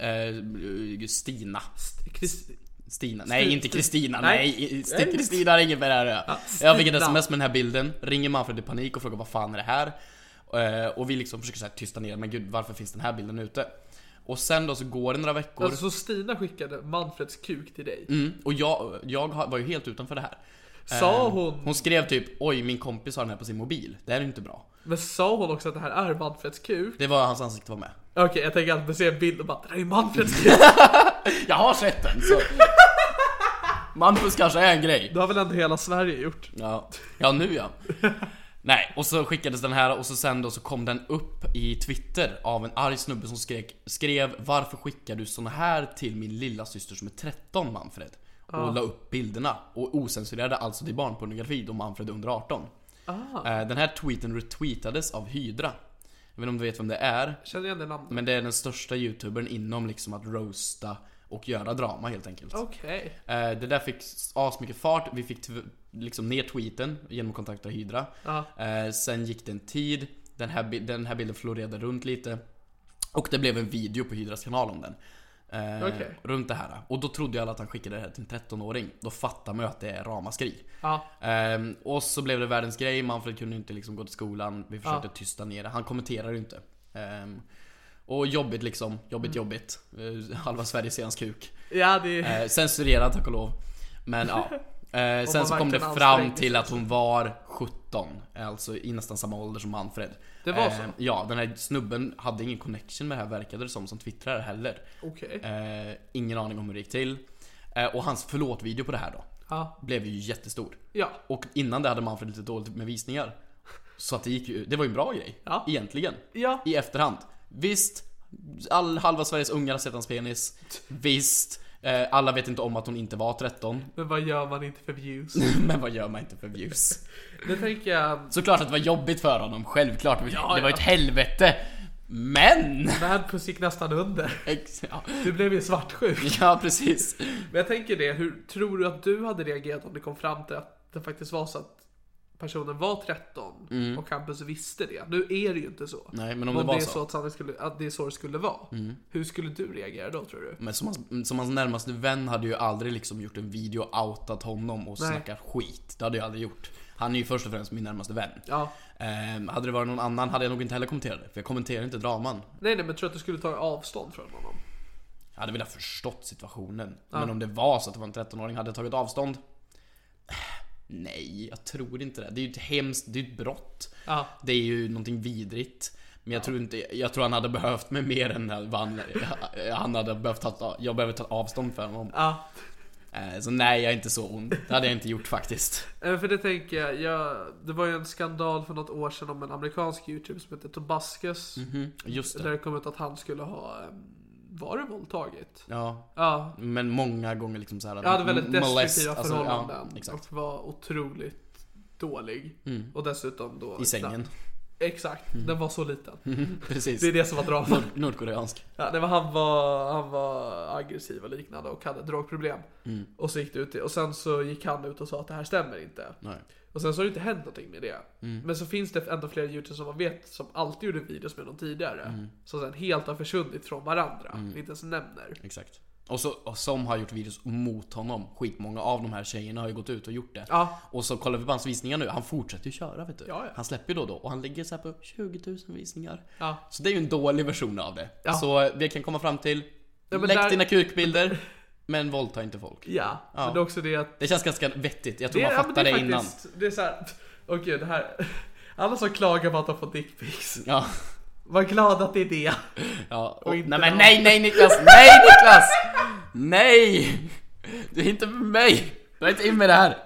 Eh, Stina.
St- Chris-
Stina. Nej,
Sti-
inte Kristina.
Nej.
Nej, Sti- Kristina har inget med det här att göra. Jag fick ett
Stina.
sms med den här bilden, ringer Manfred i panik och frågar vad fan är det här? Eh, Och vi liksom försöker så här tysta ner men gud varför finns den här bilden ute? Och sen då så går det några veckor.
Alltså, så Stina skickade Manfreds kuk till dig.
Mm, och jag, jag har- var ju helt utanför det här.
Sa
Eh,
hon-
Hon skrev typ oj min kompis har den här på sin mobil. Det här är inte bra.
Men sa hon också att det här är Manfreds kuk?
Det var hans ansikte var med.
Okej, jag tänker alltid se en bild och bara det här är Manfreds
<laughs>
kuk.
Jag har sett den så. Mampus kanske är en grej.
Det har väl ändå hela Sverige gjort?
Ja, ja nu ja. Nej, och så skickades den här och så sen då så kom den upp i Twitter av en arg snubbe som skrek, skrev Varför skickar du såna här till min lilla syster som är 13 Manfred? Och la upp bilderna och osensurerade alltså till barnpornografi då Manfred är under 18. Eh, Den här tweeten retweetades av Hydra. Jag vet inte om du vet vem det är?
Känner igen det namnet?
Men det är den största youtubern inom liksom att roasta och göra drama helt enkelt.
Okej.
Eh, Det där fick asmycket fart, vi fick tv- liksom ner tweeten genom att kontakta Hydra.
Ja.
Eh, Sen gick det en tid, den här, bi- den här bilden florerade runt lite. Och det blev en video på Hydras kanal om den. Eh,
Okej.
Runt det här. Och då trodde ju alla att han skickade det här till en 13-åring. Då fattar man ju att det är ramaskri.
Ja.
Ehm, och så blev det världens grej, Manfred kunde inte liksom gå till skolan, vi försökte tysta ner det, han kommenterade ju inte. Ehm, och jobbigt liksom, jobbigt jobbigt. Eh, halva Sverige ser hans kuk.
Mm. Ja, det är...
Eh, censurerad tack och lov.
<laughs>
Men ja. Eh, sen så kom det
verkligen
fram
anstränger sig.
till att hon var 17, alltså i nästan samma ålder som Manfred. Eh,
Det var så?
ja, den här snubben hade ingen connection med det här verkade det som, som twittrare heller.
Okej.
Eh, ingen aning om hur det gick till. Eh, och hans förlåt-video på det här då,
Ja.
blev ju jättestor.
Ja.
Och innan det hade Manfred lite dåligt med visningar. Så att det gick ju, det var ju en bra grej.
Ja.
Egentligen.
Ja.
I efterhand. Visst, all, halva Sveriges ungar har sett hans penis. Visst, eh, alla vet inte om att hon inte var 13.
Men vad gör man inte för views?
<laughs> Men vad gör man inte för views?
Nu tänker jag,
Såklart att det var jobbigt för honom, självklart.
Ja,
det var
ja.
ett helvete. Men!
Madpuss gick nästan under.
Ex- ja.
Du blev ju svartsjuk.
ja, precis.
Men jag tänker det, hur tror du att du hade reagerat om det kom fram till att det faktiskt var så att personen var 13 och Campus visste det? Nu är det ju inte så.
Mm. Nej, men om det var
är
så. Mm.
så. att, sanningen skulle, att det är så det skulle vara. Hur skulle du reagera då tror du?
Men som hans, som hans närmaste vän hade ju aldrig liksom gjort en video och outat honom och
Nej.
snackat skit. Det hade jag aldrig gjort. Han är ju först och främst min närmaste vän.
Ja.
Ehm, hade det varit någon annan hade jag nog inte heller kommenterat det, för jag kommenterar inte draman.
Nej, nej, men tror du att du skulle ta avstånd från honom?
Jag hade velat förstått situationen. Men om det var så att det var en 13-åring, hade jag tagit avstånd? <sighs> Nej, jag tror inte det. Det är ju ett hemskt, det är ju ett brott.
Ja.
Det är ju någonting vidrigt. Men jag tror inte, jag tror han hade behövt mig mer än vad han, <laughs> han hade behövt ta, jag behöver ta avstånd för honom.
Ja.
Eh, Så nej, jag är inte så ond. Det hade jag inte gjort faktiskt.
Eh, För det tänker jag, jag, det var ju en skandal för något år sedan om en amerikansk youtuber som heter Tobaskus.
Mhm, Just
Där
det.
det kom ut att han skulle ha, eh, var det våldtaget?
Ja.
Ja,
Men många gånger liksom såhär...
jag hade väldigt destruktiva
alltså, ja,
förhållanden
exakt.
och
Mm.
var otroligt dålig. Och dessutom då...
I sängen. Mm.
Exakt, den var så
<laughs>
liten.
Precis.
Det är det som var dramat.
Nord- Nordkoreansk.
Ja, det var, han, var, han var aggressiv och liknande och hade drogproblem.
Mm.
Och så gick det ut och sen så gick han ut och sa att det här stämmer inte.
Nej. Mm.
Och sen så har det inte hänt någonting med det. Men så finns det ändå flera youtubers som man vet som alltid gjorde videos med någon tidigare.
Mm.
Som sen helt har försvunnit från varandra. Inte ens nämner.
Exakt. Och, så, och som har gjort videos mot honom. Skitmånga av de här tjejerna har ju gått ut och gjort det.
Ja.
Och så kollar vi på hans visningar nu. Han fortsätter ju köra vet du.
Ja, ja.
Han släpper ju då och då och han ligger så här på 20 000 visningar.
Ja.
Så det är ju en dålig version av det.
Ja.
Så vi kan komma fram till,
Ja, men
läck
där-
dina kukbilder, men våldta inte folk.
Ja, men det är också det att
Det känns ganska vettigt. Jag tror
Det,
man
ja, men
fattar
det
det,
är
innan.
faktiskt, det är såhär, <laughs> åh gud det här. Alla som klagar på att de får dickpics,
Ja.
var glad att det är det.
ja. Och,
inte
nej men
någon-
nej nej Niklas! Nej Niklas! Nej! Du är inte med mig! Du är inte in med det här!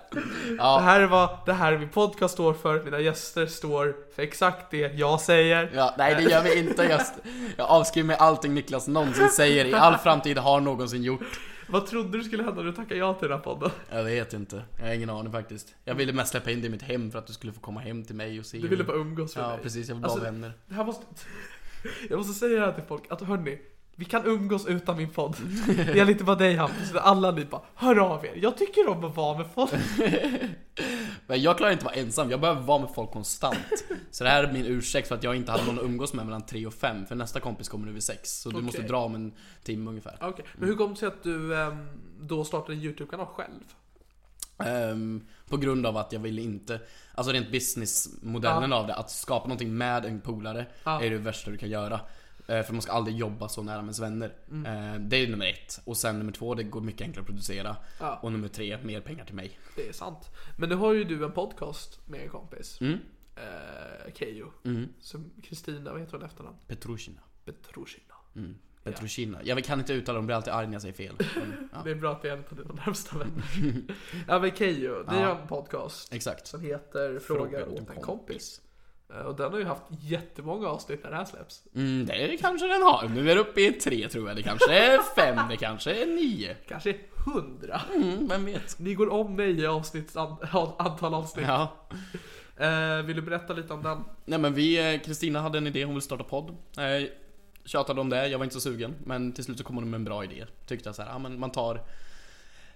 Det här är vad det här min podcast står för, mina gäster står för exakt det jag säger.
Ja, nej det gör vi inte just. Jag avskriver mig allting Niklas någonsin säger i all framtid har någonsin gjort.
Vad trodde du skulle hända när du tackade ja till den här podden?
Jag vet inte. Jag har ingen aning faktiskt. Jag ville mest släppa in dig i mitt hem för att du skulle få komma hem till mig och se.
Du ville bara umgås med
Ja
mig.
precis, jag vill bara
Alltså,
vara vänner.
Det här måste... <laughs> Jag måste säga det här till folk, att hörni, vi kan umgås utan min
<laughs>
podd. Det gäller inte bara dig Hampus, alla ni bara, hör av er. Jag tycker om att vara med
<laughs>
folk.
Men jag klarar inte att vara ensam, jag behöver vara med folk konstant. Så det här är min ursäkt för att jag inte hade någon att umgås med mellan 3 och 5 för nästa kompis kommer nu vid 6. Så du måste
Okej.
dra om en timme ungefär.
Okej, men hur kom det sig att du ehm, då startade en YouTube-kanal själv?
Ehm, på grund av att jag vill inte, alltså rent businessmodellen av det, att skapa någonting med en polare är det värsta du kan göra. Eh, För man ska aldrig jobba så nära med ens vänner. Eh, Det är nummer ett. Och sen nummer två, det går mycket enklare att producera. Och nummer tre, mer pengar till mig.
Det är sant. Men nu har ju du en podcast med en kompis. Mm. Eh, Keyyo. Som Kristina, vad heter hon i efternamn?
Petrushina.
Petrushina.
Petrushina. Jag kan inte uttala dem, blir alltid arg när jag säger fel. Men, ja.
Det är bra att vi är en av dina närmsta <laughs> vänner. ja men Keyyo, ni har en podcast.
Exakt.
Som heter Frågar åt en kompis. Eh, Och den har ju haft jättemånga avsnitt när det här släpps.
Mm, det kanske den har. Nu är det uppe i tre tror jag. Det kanske är fem, det kanske är nio.
Kanske hundra.
Mm,
<laughs>
vem vet?
Ni går om mig i avsnitt, an, <laughs> antal avsnitt.
Ja.
Eh, vill du berätta lite om den?
Nej men vi, eh, Kristina hade en idé, hon ville starta podd. Eh, Tjatade om det, jag var inte så sugen. Men till slut så kom hon med en bra idé. Tyckte jag så här, ja men man tar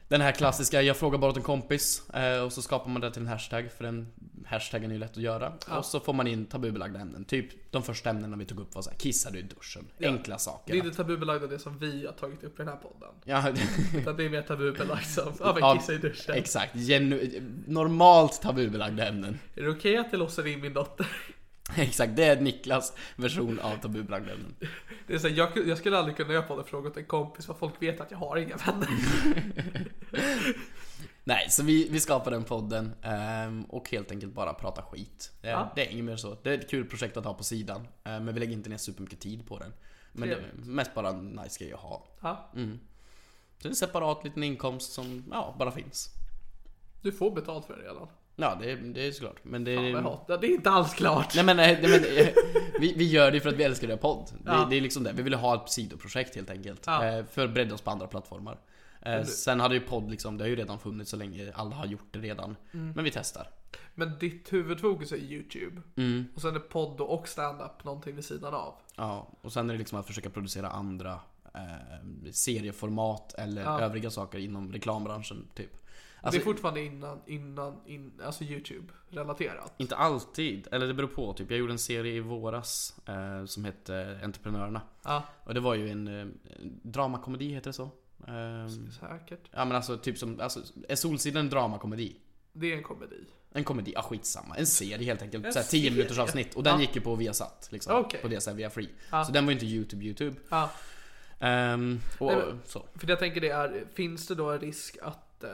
den här klassiska, jag frågar bara åt en kompis. eh, Och så skapar man det till en hashtag, för den hashtaggen är ju lätt att göra. Och så får man in tabubelagda ämnen. Typ de första ämnena vi tog upp var så här, kissar du i duschen? Enkla saker.
Det är inte tabubelagt av det som vi har tagit upp i den här podden.
Ja,
Utan det är mer tabubelagt som, <laughs> ja
Ja,
men kissa i duschen.
Exakt, Genu- normalt tabubelagda ämnen. <laughs>
Är det okej att jag låser in min dotter? <laughs>
Exakt, det är Niklas version av tabubelagda ämnen.
Det är så här, jag, jag skulle aldrig kunna göra podden fråga åt en kompis för folk vet att jag har inga
<laughs>
vänner.
Nej, så vi, vi skapar den podden ehm, och helt enkelt bara prata skit. Eh,
Ja.
Det är inget mer så. Det är ett kul projekt att ha på sidan, eh, men vi lägger inte ner supermycket tid på den. Men det är
Trevligt.
mest bara en nice grej att ha.
Ja,
Mm. Så det är en separat liten inkomst som ja, bara finns.
du får betalt för det redan.
Ja, det, det är såklart. Men det,
Fan vad jag hatar. Det är inte alls klart.
Mm. Nej men, nej, nej, men eh, vi, vi gör det för att vi älskar att göra podd.
Ja.
Det, det är liksom det. Vi ville ha ett sidoprojekt helt enkelt.
Ja.
Eh, För att bredda oss på andra plattformar. Eh, Sen hade ju podd liksom, det har ju redan funnits så länge. Alla har gjort det redan.
Mm.
Men vi testar.
Men ditt huvudfokus är YouTube.
Mm.
Och sen är podd och stand-up någonting vid sidan av.
Ja, och sen är det liksom att försöka producera andra eh, serieformat eller övriga saker inom reklambranschen typ. Alltså,
det är fortfarande innan, innan, in, alltså YouTube-relaterat.
Inte alltid, eller det beror på. Typ. Jag gjorde en serie i våras eh, som hette Entreprenörerna.
Ja,
Och det var ju en eh, dramakomedi, heter det så? Ehm,
säkert.
Ja men alltså typ som, alltså, är Solsidan en dramakomedi?
Det är en komedi.
En komedi, ja skitsamma. En serie helt enkelt.
En
Såhär 10 minuters avsnitt. Och den
Ja.
gick ju på Viasat. Liksom,
Okej.
På det sättet via free. Så den var ju inte YouTube YouTube.
Ja.
Ehm, och,
Nej, men-
så.
För det jag tänker det är, finns det då en risk att eh,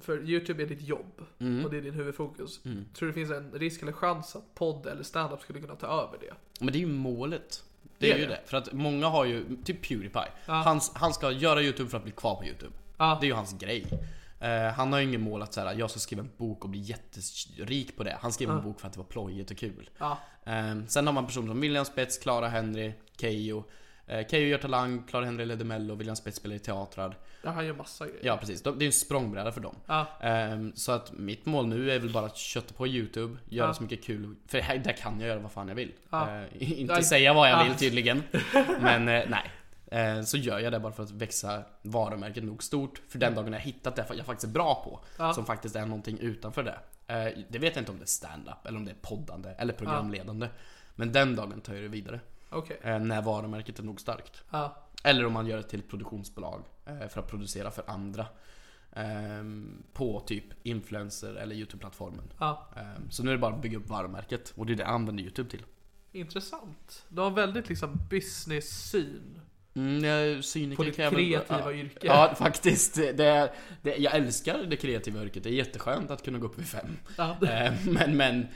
för Youtube är ditt jobb och det är din huvudfokus. Tror du det finns en risk eller chans att podd eller standup skulle kunna ta över det?
Men det är ju målet. Det är
Det är
ju
det.
det. För att många har ju, typ Pewdiepie. Han, han ska göra YouTube för att bli kvar på YouTube.
Ja.
Det är ju hans grej. Eh, han har ju inget mål att säga jag ska skriva en bok och bli jätterik på det. Han skrev en bok för att det var plojigt och kul.
Ja.
Eh, sen har man personer som William Spets, Clara Henry, Keyyo. Eh, Keyyo gör Talang, Clara Henry leder Mello, William Spets spelar i teatrar.
Ja, han gör massa grejer.
Ja precis, De- det är ju en språngbräda för dem.
Ja.
Ehm, Så att mitt mål nu är väl bara att kötta på YouTube, göra
Ja.
så mycket kul, för här, där kan jag göra vad fan jag vill.
Ja.
Eh, Inte
Nej.
säga vad jag
Ja.
vill
<laughs>
tydligen. Men eh, nej. Eh, Så gör jag det bara för att växa varumärket nog stort för den dagen jag hittat det jag faktiskt är bra på. Som faktiskt är någonting utanför det. Eh, Det vet jag inte om det är stand-up eller om det är poddande eller programledande. Men den dagen tar jag det vidare.
Okej.
eh, När varumärket är nog starkt.
Ja.
Eller om man gör det till ett produktionsbolag eh, för att producera för andra. ehm, På typ influencer eller YouTube-plattformen.
Ja.
Ehm, Så nu är det bara att bygga upp varumärket och det är det jag använder YouTube till.
Intressant. Du har en väldigt liksom business-syn.
Mm, jag, cyniker
På ditt
kan jag väl-
kreativa
ja,
yrke.
Ja, faktiskt. Det är, det, jag älskar det kreativa yrket. Det är jätteskönt att kunna gå upp vid fem.
Ja.
Eh, Men, men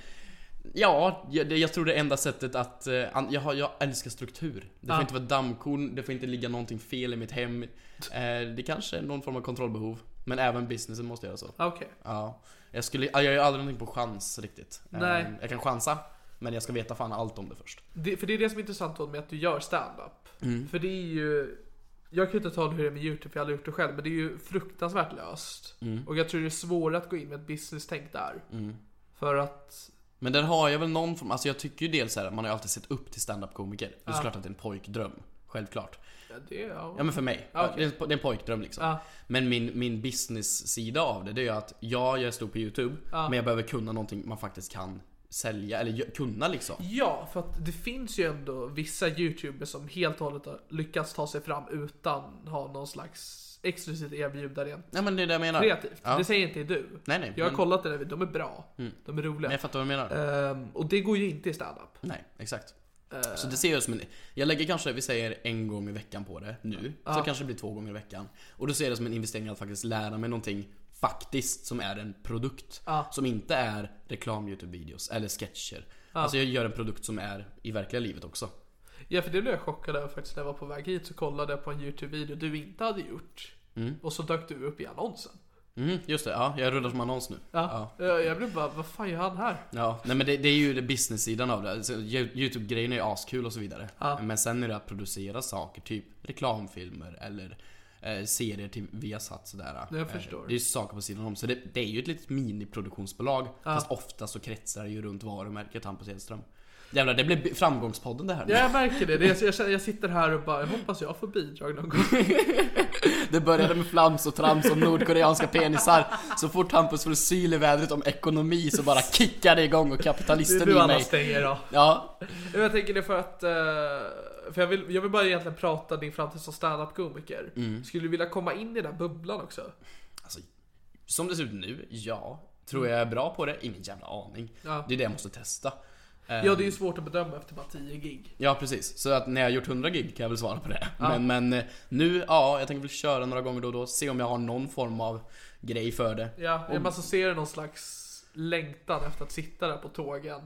Ja, jag, det- jag tror det är enda sättet att... eh, an- Jag, har, jag älskar struktur. Det får
Ja.
inte vara dammkorn, det får inte ligga någonting fel i mitt hem. Eh, Det kanske är någon form av kontrollbehov. Men även businessen måste göra så.
Ja, Okej.
Ja. Jag, skulle, jag gör aldrig någonting på chans riktigt. Eh,
Nej.
Jag kan chansa, men jag ska veta fan allt om det först.
Det, för det är det som är intressant då med att du gör stand-up. För det är ju... Jag kan ju inte tala om hur det är med YouTube för jag har aldrig gjort det själv. Men det är ju fruktansvärt löst. Och jag tror det är svårare att gå in med ett business-tänk där. För att...
Men där har jag väl någon form, alltså jag tycker ju dels så här, man har ju alltid sett upp till standup-komiker. Det är såklart att det är en pojkdröm. Självklart.
Ja, det är, ja.
Ja men för mig.
Ja, okej.
Det, är en, po- det är en pojkdröm liksom.
Ja.
Men min, min business-sida av det, det är ju att ja, jag är stor på YouTube, men jag behöver kunna någonting man faktiskt kan sälja, eller gö- kunna liksom.
Ja, för att det finns ju ändå vissa youtubers som helt och hållet har lyckats ta sig fram utan ha någon slags explicit erbjuda rent
Nej men det är det jag menar.
kreativt.
Ja.
Det säger inte du.
Nej, nej,
jag har
men- Mm.
kollat det där, de är bra. De är roliga.
Men jag fattar vad du menar.
Ehm, och det går ju inte i stand-up.
Nej, exakt. Så det ser jag som en... Jag lägger kanske, vi säger en gång i veckan på det nu. Så kanske det blir två gånger i veckan. Och då ser jag det som en investering att faktiskt lära mig någonting faktiskt som är en produkt. Som inte är reklam Youtube-videos eller sketcher. Alltså jag gör en produkt som är i verkliga livet också.
Ja, för det blev jag chockad över faktiskt när jag var på väg hit så kollade jag på en YouTube-video du inte hade gjort. Och så dök du upp i annonsen.
Mm, just det, ja, jag rullar som annons nu.
Ja. Jag, jag blev bara, vad fan gör han här?
Ja, nej men det, det är ju det business-sidan av det. Alltså, Yo- Youtube-grejen är ju askul och så vidare. Men sen är det att producera saker, typ reklamfilmer eller eh, serier till Viasat sådär.
Jag
Eh,
förstår.
Det är ju saker på sidan om. Så det, det är ju ett litet miniproduktionsbolag. Fast ofta så kretsar det ju runt varumärket Hampus Hedström. Jävlar, det blev bi- framgångspodden det här. nu.
Ja, jag märker det. det är, jag, känner- jag sitter här och bara, jag hoppas jag får bidrag någon
<laughs>
gång.
Det började med flams och trams om nordkoreanska penisar. Så fort Hampus får syl i vädret om ekonomi så bara kickar det igång och
Det är
kapitalisten
du
i
alla
mig.
stänger då.
Ja,
Ja, Jag tänker det för att, eh, för jag vill, jag vill bara egentligen prata din framtid som standup-komiker. Skulle du vilja komma in i den här bubblan också?
Alltså, som det ser ut nu, ja. Tror jag är bra på det? Ingen jävla aning.
Ja.
Det är det jag måste testa. Eh,
Ja, det är ju svårt att bedöma efter bara 10 gig.
ja, precis. Så att när jag har gjort 100 gig kan jag väl svara på det. Men, men eh, nu, ja, jag tänker väl köra några gånger då och då. Se om jag har någon form av grej för det.
Ja, man så ser någon slags längtan efter att sitta där på tågen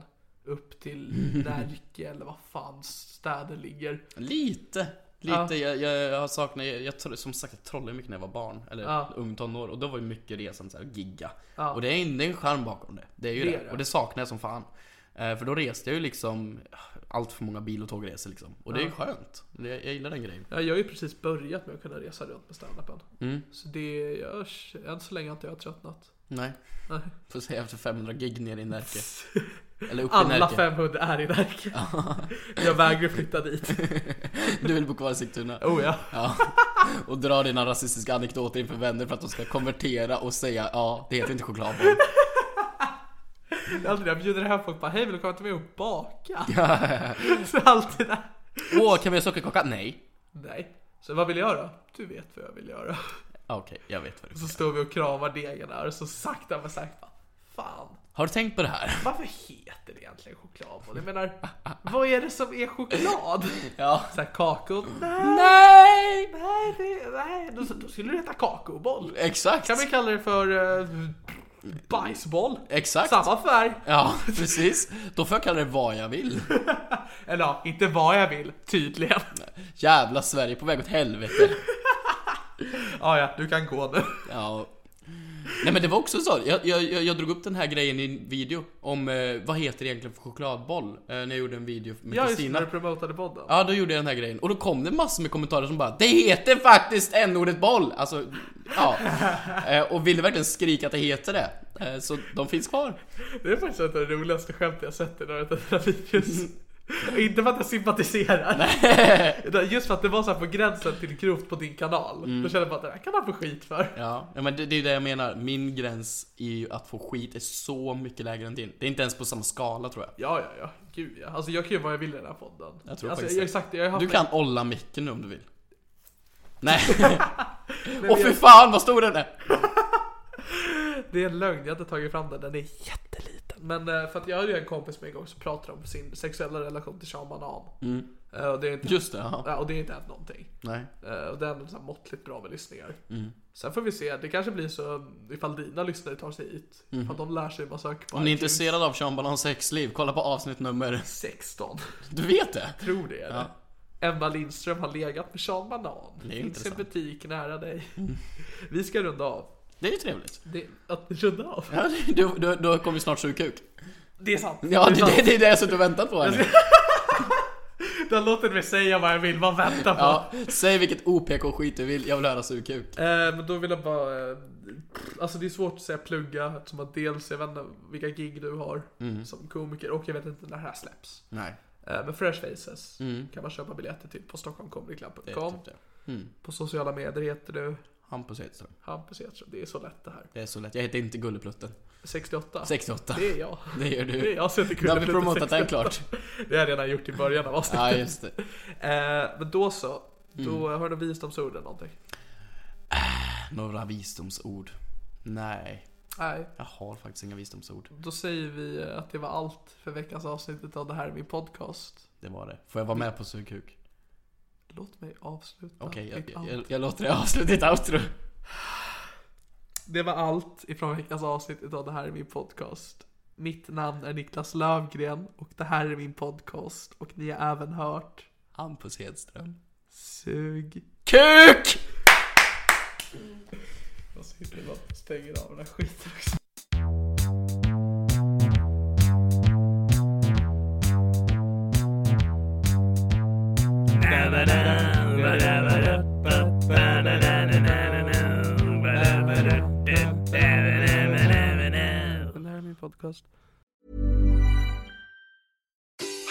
upp till Närke eller vad fan städer ligger.
Lite. Lite. Jag, jag, jag har saknat, jag, jag, tro- som sagt jag trollade mycket när jag var barn. Eller
Ja.
ung tonår. Och då var ju mycket resan så här, gigga. Och det är, en- det är en charm bakom det. Det är ju
Det
det.
är det.
Och det saknar jag som fan. Eh, För då reste jag ju liksom ah, allt för många bil och tågresor liksom. Och det är skönt. Det- Jag gillar den grejen.
Ja, jag har ju precis börjat med att kunna resa runt med standupen. Så det, jag, än så länge har inte jag tröttnat.
Nej.
Nej.
Får se efter 500 gig nere
<laughs>
i Närke. Eller uppe i
Alla
Närke.
500 är i Närke. jag vägrar flytta dit.
Du vill bo kvar i Sigtuna.
Oh ja.
Ja. Och dra dina rasistiska anekdoter inför vänner för att de ska konvertera och säga ja, det heter inte chokladboll.
Det är alltid det, jag bjuder hem folk bara hej vill du komma till mig och baka? <laughs> så alltid det.
Åh, kan vi ha sockerkaka? Nej.
Nej. Så vad vill jag göra? Du vet vad jag vill göra.
Ah, Okej, jag vet vad du
Så står vi och kramar degen där och så sakta men sakta bara, Fan,
Har du tänkt på
<laughs>
det här?
varför heter det egentligen chokladboll? Jag menar, vad är det som är choklad?
Ja.
Såhär kakor? Nej,
Nej!
nej, det, nej. Då, då skulle det heta kakaoboll.
Exakt!
Kan vi kalla det för eh, bajsboll?
Exakt!
Samma färg. <laughs>
Ja, <laughs> precis. Då får jag kalla det vad jag vill.
Eller ja, inte vad jag vill, tydligen.
Jävla Sverige på väg åt helvete.
Ah, ja, du kan gå nu.
Ja. Nej men det var också så, jag, jag, jag jag drog upp den här grejen i en video om eh, vad heter det egentligen för chokladboll? Eh, när jag gjorde en video med
Ja, just det,
Kristina.
när du promotade podden.
Ja, då gjorde jag den här grejen. Och då kom det massor med kommentarer som bara Det heter faktiskt n-ordet boll! Alltså,
<laughs>
ja. Eh, Och ville verkligen skrika att det heter det. Eh, Så de finns kvar.
Det är faktiskt ett av de roligaste skämt jag sett i några av dina videos. <laughs> Inte för att jag sympatiserar. <laughs> utan Just för att det var så här på gränsen till grovt på din kanal. Då kände jag bara att det här kan han få skit för.
Ja, ja, men det, det är ju det jag menar. Min gräns i ju att få skit är så mycket lägre än din. Det är inte ens på samma skala tror jag.
Ja, ja, ja. Gud ja. Alltså jag kan ju vad jag vill i den här podden.
Jag
alltså,
tror faktiskt
jag,
det.
exakt, jag har haft
Du
en-
kan olla micken nu om
<laughs>
du vill. Nej. Åh fy fan vad stor den är!
Det är en lögn, jag har inte tagit fram den. Den är jätteliten. Men eh, för att jag hade ju en kompis med en gång som pratade om sin sexuella relation till Sean Banan. Eh, Och det är inte,
Just det, ja.
ja, och det är inte hänt någonting.
Nej.
Eh, Och det är ändå så här måttligt bra med lyssningar.
Mm.
Sen får vi se, det kanske blir så um, ifall dina lyssnare tar sig hit. Ifall de lär sig hur man söker på
Mm. Om ni är
iTunes.
intresserade av Sean Balans sexliv, kolla på avsnitt nummer...
16,
Du vet det?
<laughs> tror det är det. Emma Lindström har legat med Sean Banan.
Det är
Finns en
intressant. Mm.
butik nära dig. Vi ska runda av.
Det är ju trevligt.
Det, att, runda av?
Ja, du, du, du kommer ju snart sug kuk.
Det är sant.
Ja,
är
det,
sant.
det, det är det jag suttit och väntat
<laughs>
på här nu.
Du har låtit mig säga vad jag vill, vad väntar på.
Ja, säg vilket OPK-skit du vill, jag vill höra sugkuk.
Eh, men då vill jag bara... Eh, alltså det är svårt att säga plugga eftersom att dels jag vet inte vilka gig du har
Mm.
som komiker och jag vet inte när det här släpps.
Nej.
Eh, men Fresh Faces kan man köpa biljetter till på stockholmcomedyclub.com.
Typ Mm. det.
På sociala medier heter du
Hampus Hedström.
Hampus Hedström. Det är så lätt det här.
Det är så lätt. Jag heter inte Gulleplutten.
68.
68.
Det är jag.
Det gör du.
Det är jag som heter
Då har vi
Kulleplutten
promotat den
68.
klart.
<laughs> Det har jag redan gjort i början av avsnittet.
Ja, just Mm. det.
eh, men då så. Då har du visdomsord eller någonting.
Några visdomsord? Nej,
Nej,
jag har faktiskt inga visdomsord.
då säger vi eh, att det var allt för veckans avsnittet av det här är min podcast.
Det var det. Får jag vara med på sugkuk?
Låt mig avsluta.
Okej,
mitt
jag,
allt.
jag, jag låter dig avsluta ditt outro.
Det var allt ifrån veckans avsnitt av det här är min podcast. Mitt namn är Niklas Lövgren och det här är min podcast och ni har även hört
Hampus Hedström.
Sug.
KUK!
Jag sitter bara och stänger av den här skiten också. Det här är min podcast.